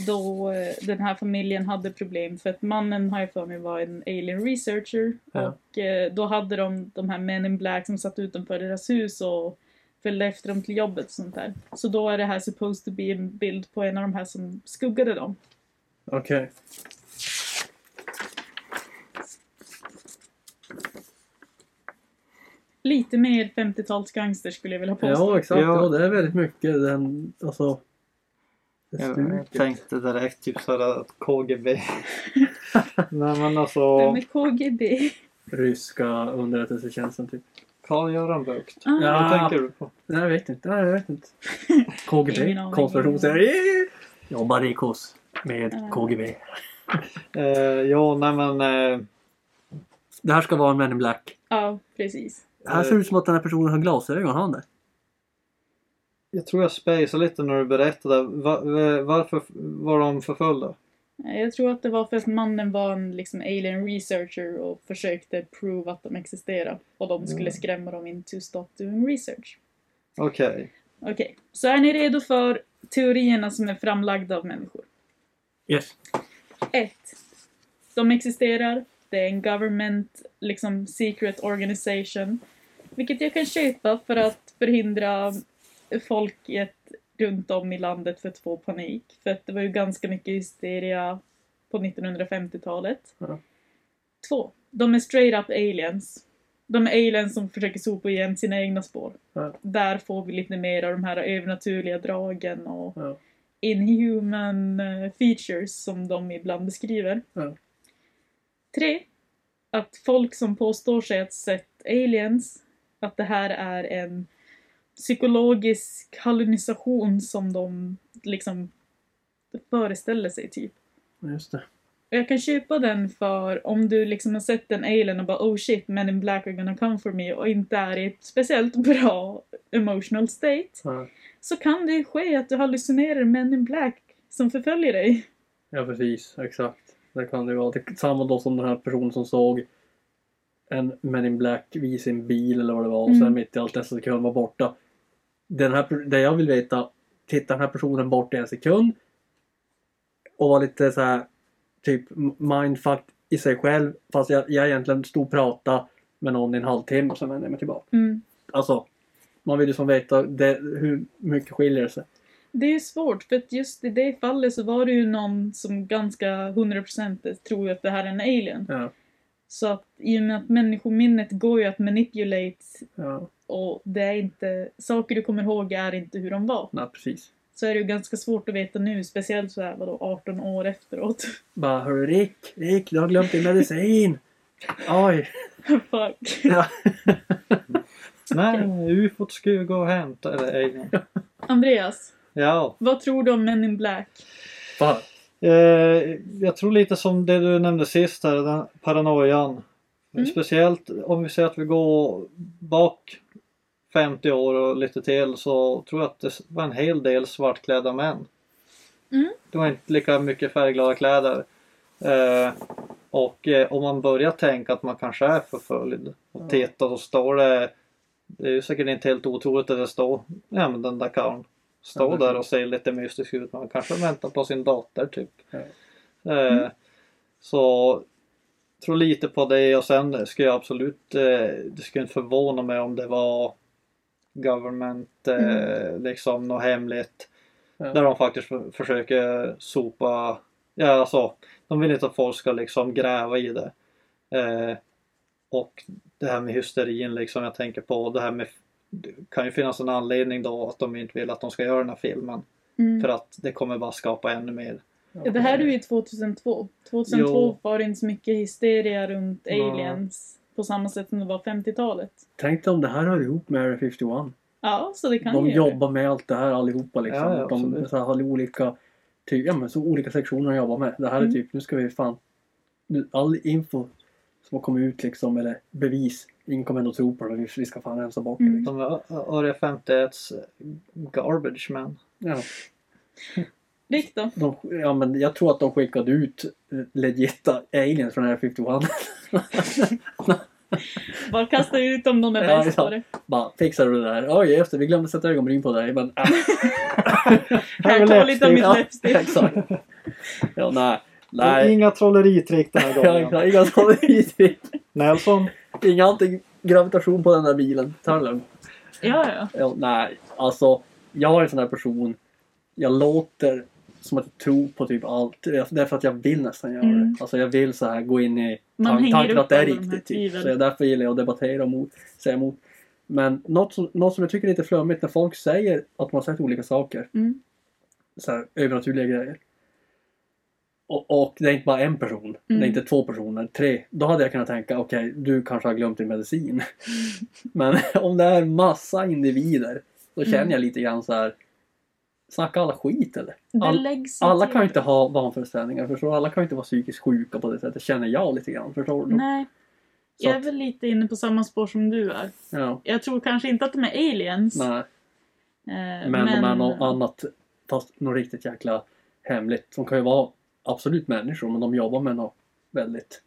Då eh, den här familjen hade problem för att mannen har jag för mig var en alien researcher. Ja. Och eh, då hade de de här Men in Black som satt utanför deras hus och följde efter dem till jobbet och sånt där. Så då är det här supposed to be en bild på en av de här som skuggade dem. Okej. Lite mer 50-talsgangster skulle jag vilja påstå. Ja, exakt. Ja. Ja. det är väldigt mycket den, alltså. Det Jag stuket. tänkte direkt typ sådär att KGB. Nej men Den alltså med KGB. Ryska underrättelsetjänsten typ. Karl-Göran Bucht. Ah. Ja. Vad tänker du på? Nej, jag vet inte. Nej, jag vet inte. Ingen KGB. aning. Konspirationsserie. Jobbar i KOS med KGB. Eh, ja, nej men eh, Det här ska vara en Man in Black. Ja, precis. Det här ser ut som att den här personen har glasögon. Har han det? jag tror jag spejsade lite när du berättade. Va, va, varför var de förföljda? Eh, Jag tror att det var för att mannen var en liksom, alien researcher och försökte prova att de existerar. Och de skulle skrämma dem in to stop doing research. Okej. Okej, så är ni redo för teorierna som är framlagda av människor? Yes. 1. De existerar. Det är en government, liksom secret organization. Vilket jag kan köpa för att förhindra folket runt om i landet för att få panik. För att det var ju ganska mycket hysteria på 1950-talet. Ja. Två. De är straight up aliens. De är aliens som försöker sopa igen sina egna spår. Ja. Där får vi lite mer av de här övernaturliga dragen och Ja. inhuman eh, features som de ibland beskriver. Ja. Tre. Att folk som påstår sig att sett aliens, att det här är en psykologisk kolonisation som de liksom föreställer sig typ. Just det. Och jag kan köpa den för om du liksom har sett en alien och bara oh shit men in black are gonna come for me och inte är i ett speciellt bra emotional state Ja, så kan det ske att du hallucinerar men in black som förföljer dig. ja precis. Exakt. Det kan det ju vara. Det är samma då som den här personen som såg en Man in Black vid sin bil eller vad det var och Mm. sen mitt i allt det så kunde han vara borta. Den här, per- det jag vill veta, tittar den här personen bort i en sekund och var lite så här typ mindfuck i sig själv fast jag, jag egentligen stod och pratade med någon i en halvtimme och sen vände jag mig tillbaka. Mm. Alltså, Man vill ju som veta det, hur mycket skiljer det sig. Det är svårt, för att just i det fallet så var det ju någon som ganska 100% tror ju att det här är en alien. Ja, Så att i och med att människominnet går ju att manipulate ja, och det är inte, saker du kommer ihåg är inte hur de var. nej, precis. Så är det ju ganska svårt att veta nu, speciellt så här, vadå, 18 år efteråt. Bara hörru Rick, Rick, du har glömt din medicin! Oj! Fuck. Ja. Nej, ufot ska ju gå och hämta. Eller alien. Andreas, Ja. vad tror du om Men in Black? Bara, Eh, jag tror lite som det du nämnde sist här, den paranoian. Mm. Speciellt om vi säger att vi går bak 50 år och lite till så tror jag att det var en hel del svartklädda män. Mm. Det var inte lika mycket färgglada kläder. Eh, och eh, om man börjar tänka att man kanske är förföljd och Ja. tittar så står det det är ju säkert inte helt otroligt att det står ja men den där karln står Ja, precis. där och ser lite mystisk ut men kanske väntar på sin dator typ. Ja. Mm. Eh, Så tror lite på det och sen skulle jag absolut, eh, det skulle inte förvåna mig om det var government, eh, liksom något hemligt. Ja. Där de faktiskt för- försöker sopa, ja alltså de vill inte att folk ska liksom gräva i det. Eh, och det här med hysterin liksom, jag tänker på det här med det kan ju finnas en anledning då att de inte vill att de ska göra den här filmen. Mm. För att det kommer bara skapa ännu mer. Ja, Det här är ju 2002. 2002 Jo. var det inte så mycket hysteria runt Ja. aliens på samma sätt som det var 50-talet. Tänk dig om det här hör ihop med Area 51. Ja, så det kan De ju göra. jobbar med allt det här allihopa liksom. Ja, ja, de absolut. så här, har olika, ty- ja, men, så olika sektioner att jobba med. Det här är Mm. typ, nu ska vi fan... Nu, all info som har kommit ut liksom, eller bevis, ingen kommer ändå tro på det, men vi, vi ska fan rensa bort det. Mm. Liksom. De är Area 51 garbage man. Ja, Rick då? de, ja, men jag tror att de skickade ut eh, legita aliens från Area 51. Bara kasta ut om de är Ja, bäst ja. på det. Bara, fixar du det där? Oj, just det, vi glömde sätta ögonbryn på dig. Men, ah, Här, ta lite av mitt ja, läppstift. exakt. Ja, nej. Nej. Nej. Inga trolleritrick den här Ja, gången. exakt. Inga sådana idéer. Nelson. Inga antigravitation på den där bilen. Ta det lugnt. Ja, ja. Ja, nej, alltså. Jag är en sån här person. Jag låter som att jag tror på typ allt. Därför att jag vill nästan göra Mm. det. Alltså jag vill så här gå in i Man tan- hänger tanken att det är upp alla de här riktigt. Typ. tvivlen. Så jag, därför gillar jag att debattera och mot, säga emot. Men något som, något som jag tycker är lite flummigt när folk säger att man har sett olika saker. Mm. Så här, övernaturliga grejer. Och, och det är inte bara en person. Det Mm. är inte två personer. Tre. Då hade jag kunnat tänka, okej, du kanske har glömt din medicin. Men om det är massa individer. Då känner Mm. jag lite grann så här. Snacka alla skit eller? Det All- läggs ju Alla till. kan ju inte ha vanföreställningar förstår du? Alla kan ju inte vara psykiskt sjuka på det sättet känner jag lite grann. Förstår du? Nej. Så Jag är att- väl lite inne på samma spår som du är. Ja. Jag tror kanske inte att de är aliens. Nej. eh, Men, men... är något annat. Fast något riktigt jäkla hemligt. De kan ju vara absolut människor men de jobbar med något väldigt.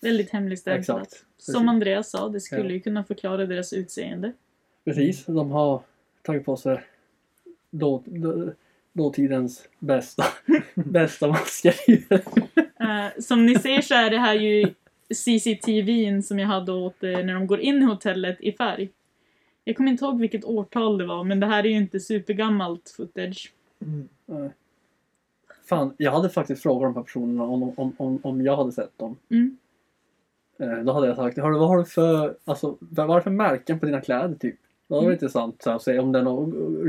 väldigt hemligstämplat. Exakt. Som Precis. Andreas sa, det skulle Ja. ju kunna förklara deras utseende. Precis. De har tagit på sig då, då, dåtidens bästa, bästa masker. Eh, som ni ser så är det här ju CCTVn som jag hade åt eh, när de går in i hotellet i färg. Jag kommer inte ihåg vilket årtal det var, men det här är ju inte supergammalt footage. Nej. Fan, jag hade faktiskt frågat de här personerna om, om, om, om jag hade sett dem. Mm. Eh, Då hade jag sagt, "Hörru, vad har du för, alltså, vad har du för märken på dina kläder typ? Det var Mm. intressant så här, att se om den har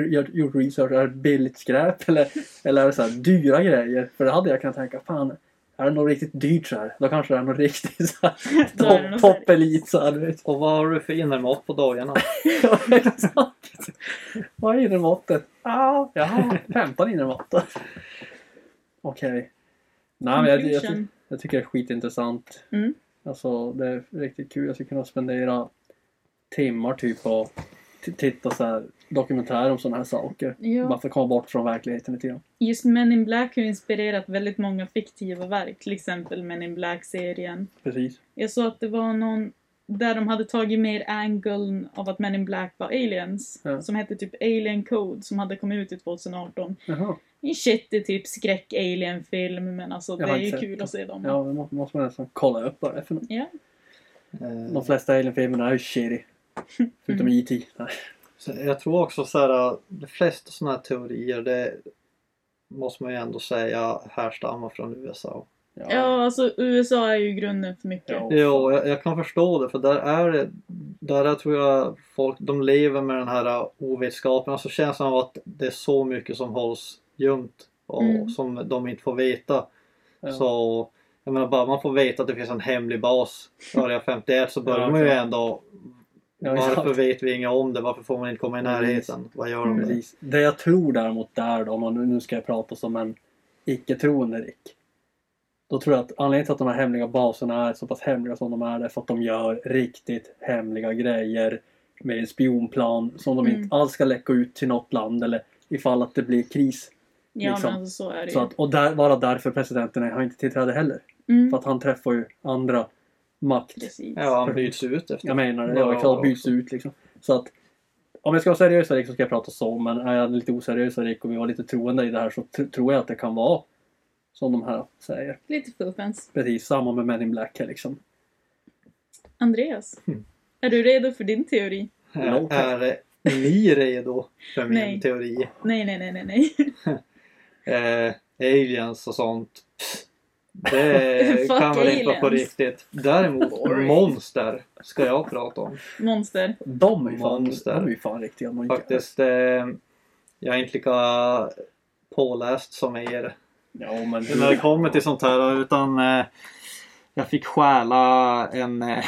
gjort- gjort research, är det billigt skräp eller, eller är det så här, dyra grejer? För det hade jag kunnat tänka, fan är det något riktigt dyrt så här? Då kanske det är något riktigt så här, Då är det topp, något toppelit så här, du vet. Och vad har du för innermat på dagarna? Ja, exakt. Vad är innermåttet? Ah, jaha, 15 innermåttet. Okej. Nej, men jag, jag, ty- Conclusion. jag tycker det är skitintressant. Mm. Alltså, det är riktigt kul. Jag skulle kunna spendera timmar typ och t- titta så här dokumentärer om sådana här saker. Bara Ja. för att komma bort från verkligheten lite grann. Just Men in Black har ju inspirerat väldigt många fiktiva verk, till exempel Men in Black-serien. Precis. Jag såg att det var någon där de hade tagit mer angeln av att Men in Black var aliens. Ja. Som hette typ Alien Code, som hade kommit ut i 2018. Jaha. En shitty typ skräck-alien-film, men alltså det Jag har är inte ju sett kul den. att se dem. Ja, det må- måste man nästan kolla upp vad det är för något. Ja. Eh, De flesta alien-filmerna är ju shitty. Förutom Mm. E.T. Nej. Så jag tror också så här, eh, de flesta sådana här teorier det måste man ju ändå säga härstammar från USA. Ja, alltså USA är ju grunden för mycket. Ja. Jo, jag, jag kan förstå det för där är det, där är, tror jag folk, de lever med den här eh, ovetskapen. Alltså känslan av att det är så mycket som hålls gömt och Mm. som de inte får veta. Ja. Så jag menar bara man får veta att det finns en hemlig bas Area 51 så börjar Ja, man ju exakt. ändå Ja, Varför exakt. vet vi inget om det? Varför får man inte komma i Precis. närheten? Vad gör de Mm. där? Precis. Det jag tror däremot där då, om man nu- nu ska jag prata som en icke-troende Rick. Då tror jag att anledningen till att de här hemliga baserna är så pass hemliga som de är, det är för att de gör riktigt hemliga grejer med en spionplan som de Mm. inte alls ska läcka ut till något land eller ifall att det blir kris. Ja, Liksom. men alltså så är det ju. Så att, och där, bara därför presidenten har inte tillträde heller. Mm. För att han träffar ju andra makt... Precis. Ja, han byts ut efter. Jag menar det, några ja, klart år byts ut liksom. Så att om jag ska vara seriös Erik så liksom ska jag prata så, men är jag lite oseriös Erik och vi var lite troende i det här så tr- tror jag att det kan vara som de här säger. Lite fuffens. Precis, samma med Men in Black här liksom. Andreas, Mm. är du redo för din teori? Är- Är ni redo för min Nej. teori? Nej, nej, nej, nej, nej. Eh, aliens och sånt. pff, Det Fuck kan väl inte vara på aliens. riktigt. Däremot Boring. monster ska jag prata om. Monster. De är ju fan, de Monster. är ju fan riktiga monster. Faktiskt, eh, jag är inte lika påläst som er Ja, men när det du, kommer till sånt här utan eh, jag fick stjäla en, eh,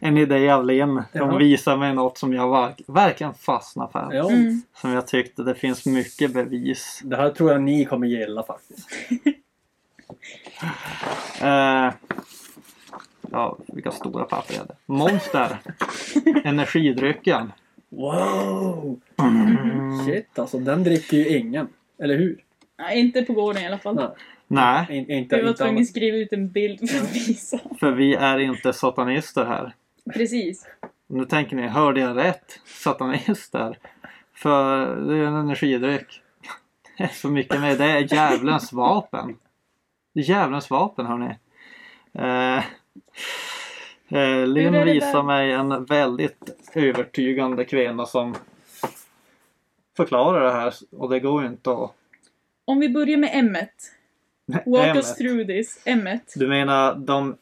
en idé av Linn. Jaha. Hon visade mig något som jag verk, verkligen fastnade för. ja, Mm. Som jag tyckte det finns mycket bevis. det här tror jag ni kommer gilla faktiskt. Eh, ja, vilka stora papper jag hade. Monster. Energidrycken. Wow! Mm. Shit alltså, den dricker ju ingen. Eller hur? Nej, inte på gården i alla fall. Nej. Nej, In, inte, Vi var inte tvungna annat. att skriva ut en bild för att visa. för vi är inte satanister här. Precis. Nu tänker ni, hörde jag rätt? Satanister? För det är en energidryck. Det är så mycket med det. är djävulens vapen. Det är djävulens vapen hörni. Eh, eh, Hur Linn är det visar där? mig en väldigt övertygande kvinna som förklarar det här och det går ju inte att... Om vi börjar med M. Walk Ämnet. us through this. M. Du menar de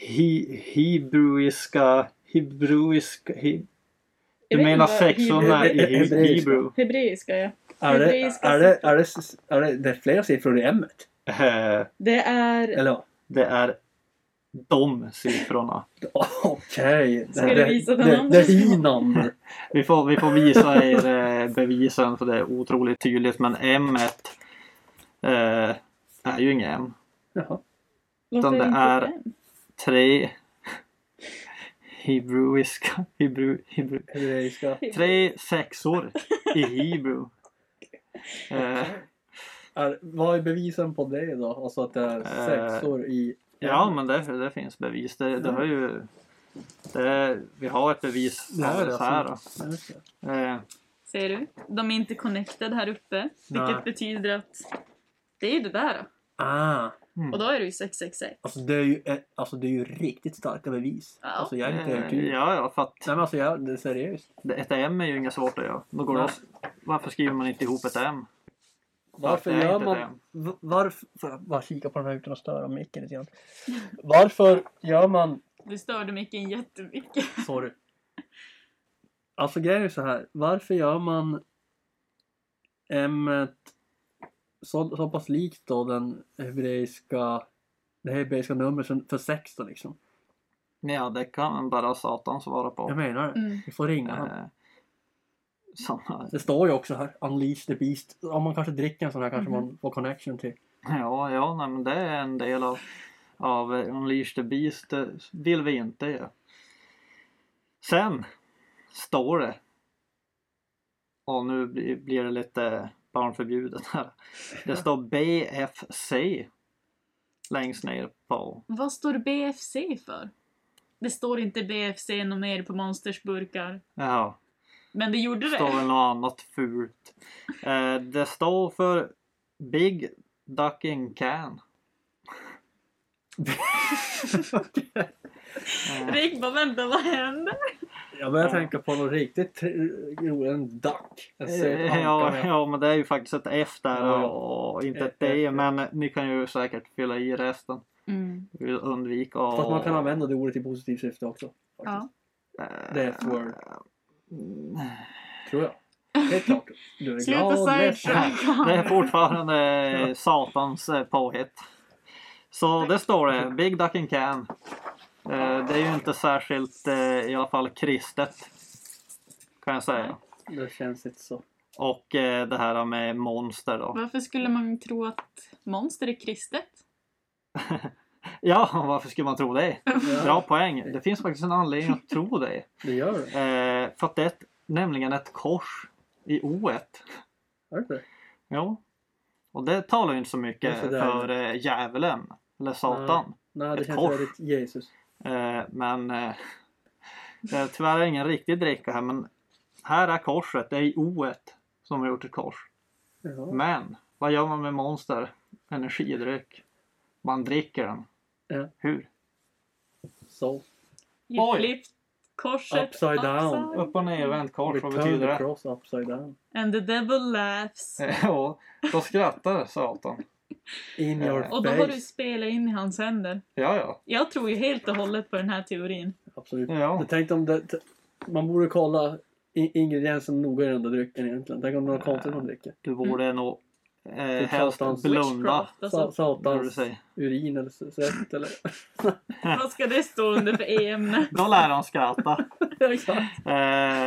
he, hebruiska... Hebruiska... He, du menar sexorna i he, Hebreiska. hebrew? Hebreiska, ja. Är det, Hebreiska är det, är det, är det, det är flera siffror i M? Eh, Det är... Eller vad? Det är de siffrorna. Okej. Ska du Det- det- visa den det, andra? det är number. Vi får, vi får visa er eh, bevisen för det är otroligt tydligt men M eh, är ju inget M. Jaha. Varför det inte är- M? Tre hebruiska, hebru, hebru, Hebreiska. tre sexor i hebrew. Eh, Är, vad är bevisen på det då? Alltså att det är Eh, sexor i... ja men det, det finns bevis. Det, det har ju, det, vi har ett bevis Det här är av det här. alltså- Ja, just det. då. Eh, Ser du? De är inte connected här uppe. Vilket Nej. betyder att det är ju det där. då. Ah, Och då är det ju 666. alltså det är ju, eh, alltså det är ju riktigt starka bevis. Ja. Alltså jag är inte eh, övertygad. ja, ja, för att Nej men alltså jag, det är seriöst. Det- Ett M är ju inget svårt att göra. Då går det Nej. att- varför skriver man inte ihop ett M? Varför Nej, gör inte man... v- Varför... Får jag bara kika på den här utan att störa micken lite grann. Varför gör man Du störde micken jättemycket. Sorry. Alltså grejen är så här. Varför gör man M så, så pass likt då den hebreiska det hebreiska numret som- för sex då liksom? Men ja, det kan bara Satan svara på. Jag menar det. Mm. Vi får ringa han. Eh, såna, Det står ju också här. Unleash the beast. Om man kanske dricker en sån här kanske Mhm. Mm-hmm. man får connection till. ja, ja, nej, men det är en del av, av eh, Unleash the Beast. Det vill vi inte göra. Sen står det. Och nu blir blir det lite barnförbjudet här. Det står BFC längst ner på Vad står BFC för? Det står inte BFC något mer på Monsters burkar. ja, Men det gjorde står väl det. något annat fult. Eh, det står för Big Ducking Can. Eh. Rick bara vänta, vad hände? Jag börjar Ja. tänka på något riktigt tr- roligt. En duck. En söt Eh, Ja, ankare. ja, men det är ju faktiskt ett F där Ja, ja. och och inte ett Ett F, D. ja. Men ni kan ju säkert fylla i resten. Mm. Vi vill undvika att... Fast man kan använda det ordet i positivt syfte också. Ja. Faktiskt. Eh, Death word. mm, Tror jag. Helt klart. Du är Sluta glad, säga ledsen. Det är fortfarande satans eh, påhitt. Så det står det. Big Duck in Can. Eh, Det är ju inte särskilt eh, i alla fall kristet. Kan jag säga. Det känns inte så. Och eh, det här med monster då. Varför skulle man tro att monster är kristet? Ja, varför skulle man tro det? Ja, Bra poäng. Det finns faktiskt en anledning att tro det. Det gör det. Eh, för att det är ett, nämligen ett kors i oet. Är det det? Jo. Och det talar ju inte så mycket Det är sådär. för eh, djävulen. Eller satan. Nej, det Ett känns kors. väldigt Jesus. Eh, men eh, eh, tyvärr är det ingen riktig dricka här. Men här är korset. Det är i oet som har gjort ett kors. Ja. Men vad gör man med monster? Energidryck. Man dricker den. Ja. Hur? Så. You Oj. flipped korset Upside down. upside. Upp och ner vänt kors. Vad Return betyder the det? cross upside down. And the devil laughs. Ja, då skrattar satan. In Ja. your Och då face. har du spelat in i hans händer. Ja, ja. Jag tror ju helt och hållet på den här teorin. Absolut. Ja. Jag tänkte om det... t- Man borde kolla i- ingredienserna noga i den där drycken egentligen. Tänk om det är något konstigt man dricker. Du borde Mm. nog eh, Typ helst satans blunda. Witchcraft, Sa- alltså. borde du Satans säga. urin eller s- svett eller... Vad ska det stå under för ämne? Då lär han skratta. Exakt. Eh,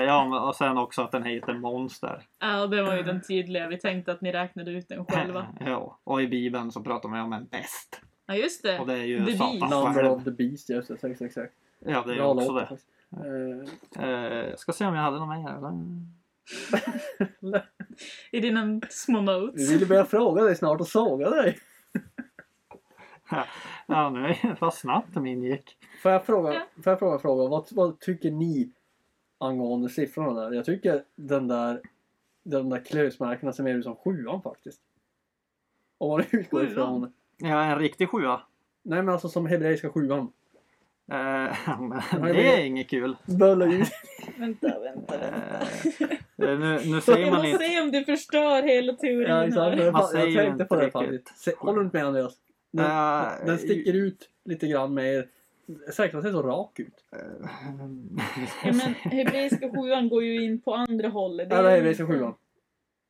ja, men- och sen också att den heter Monster. Ja, det var ju den tydliga. Vi tänkte att ni räknade ut den själva. Eh, ja. Och i Bibeln så pratar man ju om en bäst. Ja, just Och det. det är ju Bevis. Satan Number själv. of the beast, just det. Exakt, exakt. Ja, det är ju Bra också låt. det. faktiskt. Eh, Eh, jag ska se om jag hade någon mer. eller? I dina små Vi notes. ville börja fråga dig snart och såga dig. Ja, nu är det vad snabbt min gick. Får jag fråga, Ja. får jag fråga, en fråga? Vad, vad tycker ni angående siffrorna där? Jag tycker den där, den där klösmärkena ser mer ut som sjuan faktiskt. Om man utgår Sjuan? ifrån. Ja, en riktig sjua. Nej men alltså som hebreiska sjuan. Eh, men det det är blir- inget kul. Bölla ut. Vänta, vänta, Eh, nu, nu säger Jag man måste inte... se om du förstör hela Ja, teorin exakt. här. Jag Man fa- jag säger tänkte på inte det riktigt. faktiskt. Se, håller du inte med Andreas? Den, Eh, den sticker ut lite grann mer. Säkert ser så rak ut. eh, Ja, men hebreiska sjuan går ju in på andra hållet. Det är Eller ju- hebreiska sjuan.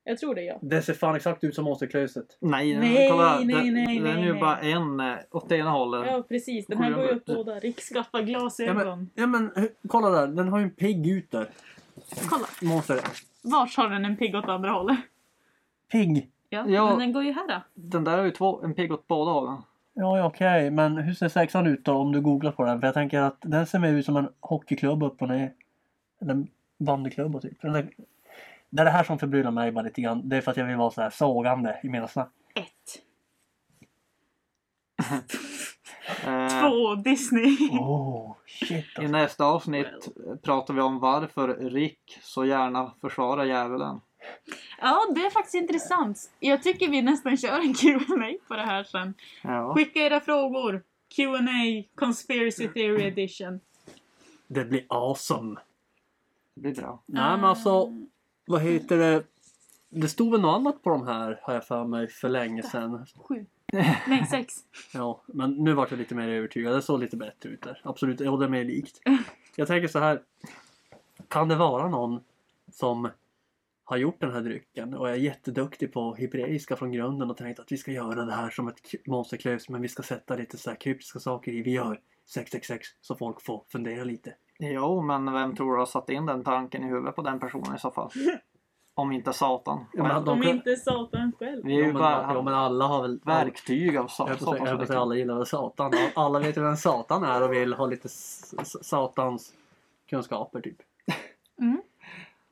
Jag tror det, ja. Det ser fan exakt ut som monsterklöset. Nej, men Nej, kolla, nej, den, nej, den är nej, ju nej. bara en eh, åt ena hållet. Ja, precis. Den här Sjuan går ju åt går- båda. Rick skaffar glasögon. Ja men hur- kolla där, den har ju en pigg ut där. Kolla. Monster. Vart har den en pigg åt andra hållet? Pigg. Ja, Ja. men den går ju här. Då. Den där har ju två, en pigg åt båda hållen. Ja, ja, okej. Men hur ser sexan ut då om du googlar på den? För jag tänker att den ser mer ut som en hockeyklubba upp och ner. Eller en bandyklubba typ. Den där, det är det här som förbryllar mig bara lite grann. Det är för att jag vill vara så här sågande i mina snack. Ett. Eh, Två Disney. Oh, shit I alltså. nästa avsnitt pratar vi om varför Rick så gärna försvarar djävulen. Ja, det är faktiskt intressant. Jag tycker vi nästan kör en Q&A på det här sen. Ja. Skicka era frågor. Q&A Conspiracy Theory Mm. Edition. Det blir awesome. Det blir bra. Nej Ah. men alltså, Eh, vad heter det? Det stod väl något annat på de här har jag för mig för länge sedan. Sju. Nej, sex. Ja, men nu vart jag lite mer övertygad. Det såg lite bättre ut där. Absolut, ja det är mer likt. Jag tänker så här. Kan det vara någon som har gjort den här drycken och är jätteduktig på hebreiska från grunden och tänkt att vi ska göra det här som ett k- monsterklös men vi ska sätta lite så här kryptiska saker i. Vi gör 666 så folk får fundera lite. Jo, men vem tror du har satt in den tanken i huvudet på den personen i så fall? Om inte Satan. Ja, men Om De kan- inte Satan själv. Vi är ju ja, men, ja, men bara alla har väl... verktyg av Jag höll på att säga- jag höll på att säga Satan. alla gillar väl Satan. Alla vet ju vem Satan är och vill ha lite s- s- Satans kunskaper typ.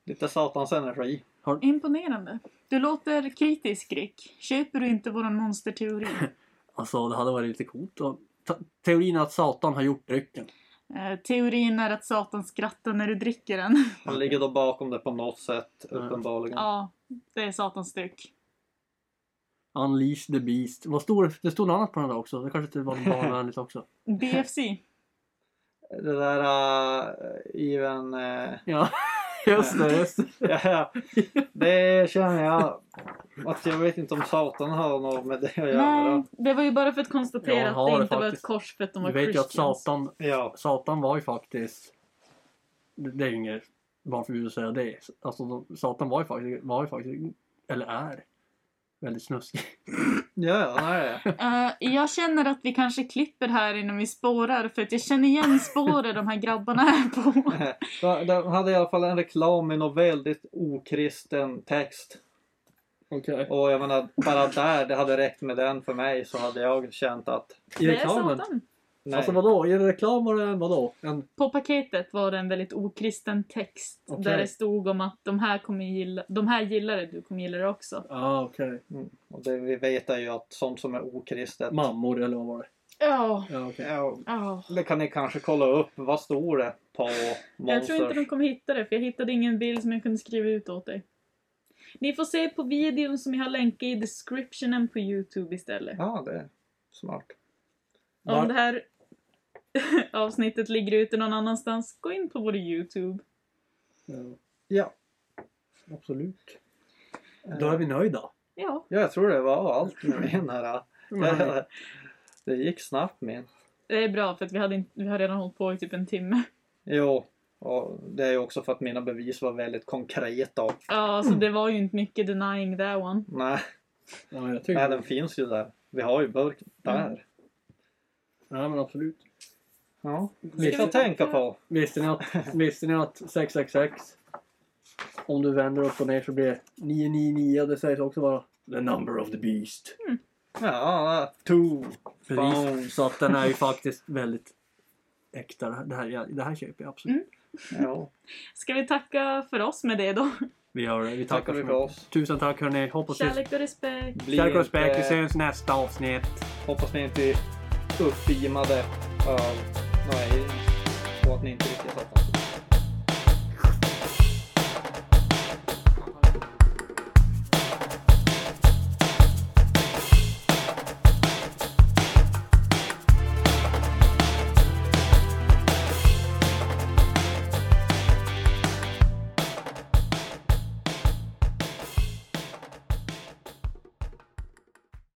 Lite Satans energi. Imponerande. Du låter kritisk, Rick. Köper du inte våran monsterteori? Alltså det hade varit lite coolt. Och ta- teorin är att Satan har gjort drycken. Eh, teorin är att Satan skrattar när du dricker den. Han ligger då bakom det på något sätt, Mm. uppenbarligen. ja, det är Satans styck. Unleash the beast. Vad stod det? Det stod något annat på den där också. Det kanske inte var barnvänligt också. BFC. det där uh, even... eh, Ja, just det. Just det. ja, det känner jag att jag vet inte om Satan har något med det att Nej, göra. det var ju bara för att konstatera Ja, att har det det inte var ett faktiskt. kors för att de var Du vet ju att Christians. Satan, Ja, Satan var ju faktiskt... Det det är ju inget barnförbud att säga det. Alltså, de- Satan var ju faktiskt, var ju faktiskt eller är, väldigt snuskig. ja, ja, nej. Eh, jag känner att vi kanske klipper här innan vi spårar för att jag känner igen spåret de här grabbarna är på. De- De hade i alla fall en reklam med någon väldigt okristen text. Okej. Och jag menar, bara där, det hade räckt med den för mig så hade jag känt att I Det är reklamen? Satan. nej. Alltså vadå? I reklam var det en vadå? En, På paketet var det en väldigt okristen text Okej. där det stod om att de här, kommer gilla, de här gillar det, du kommer gilla det också. ja ah, okej. Och det vi vet är ju att sånt som är okristet. Mammor eller vad var det? Ja, Ja, okej. Ja, ja. det kan ni kanske kolla upp. Vad står det på Jag tror inte de Monsters? kommer hitta det, för jag hittade ingen bild som jag kunde skriva ut åt dig. Ni får se på videon som jag har länkat i descriptionen på Youtube istället. Ja, det är smart. Om Var- det här avsnittet ligger ute någon annanstans, gå in på vår Youtube. Ja, Ja, absolut. Då Eh. är vi nöjda. Ja, ja jag tror det var allt med den här. Mm. Det, det gick snabbt min. det är bra för att vi, hade inte, vi har redan hållit på i typ en timme. Jo, och det är ju också för att mina bevis var väldigt konkreta. Ja, så det var ju inte mycket denying that one. Nej, Ja, men jag tycker nej, den finns ju där. Vi har ju burk där. Nej, men absolut. Ja, vi lite att tacka? tänka på. Visste ni, att, visste ni att 666, om du vänder upp och ner så blir 999, det sägs också vara the number of the beast. Ja, two. Precis. Så att den är ju faktiskt väldigt äkta. Det här- Det här, det här köper jag absolut. Ja. Ska vi tacka för oss med det då? Vi gör det. Vi Tack tackar för så oss. mycket. Tusen tack hörni. Hoppas vi... Kärlek och respekt. Bli Kärlek och respekt. Vi inte- ses nästa avsnitt. Hoppas ni inte är uppimade av... Nej, och att ni inte riktigt har fattat.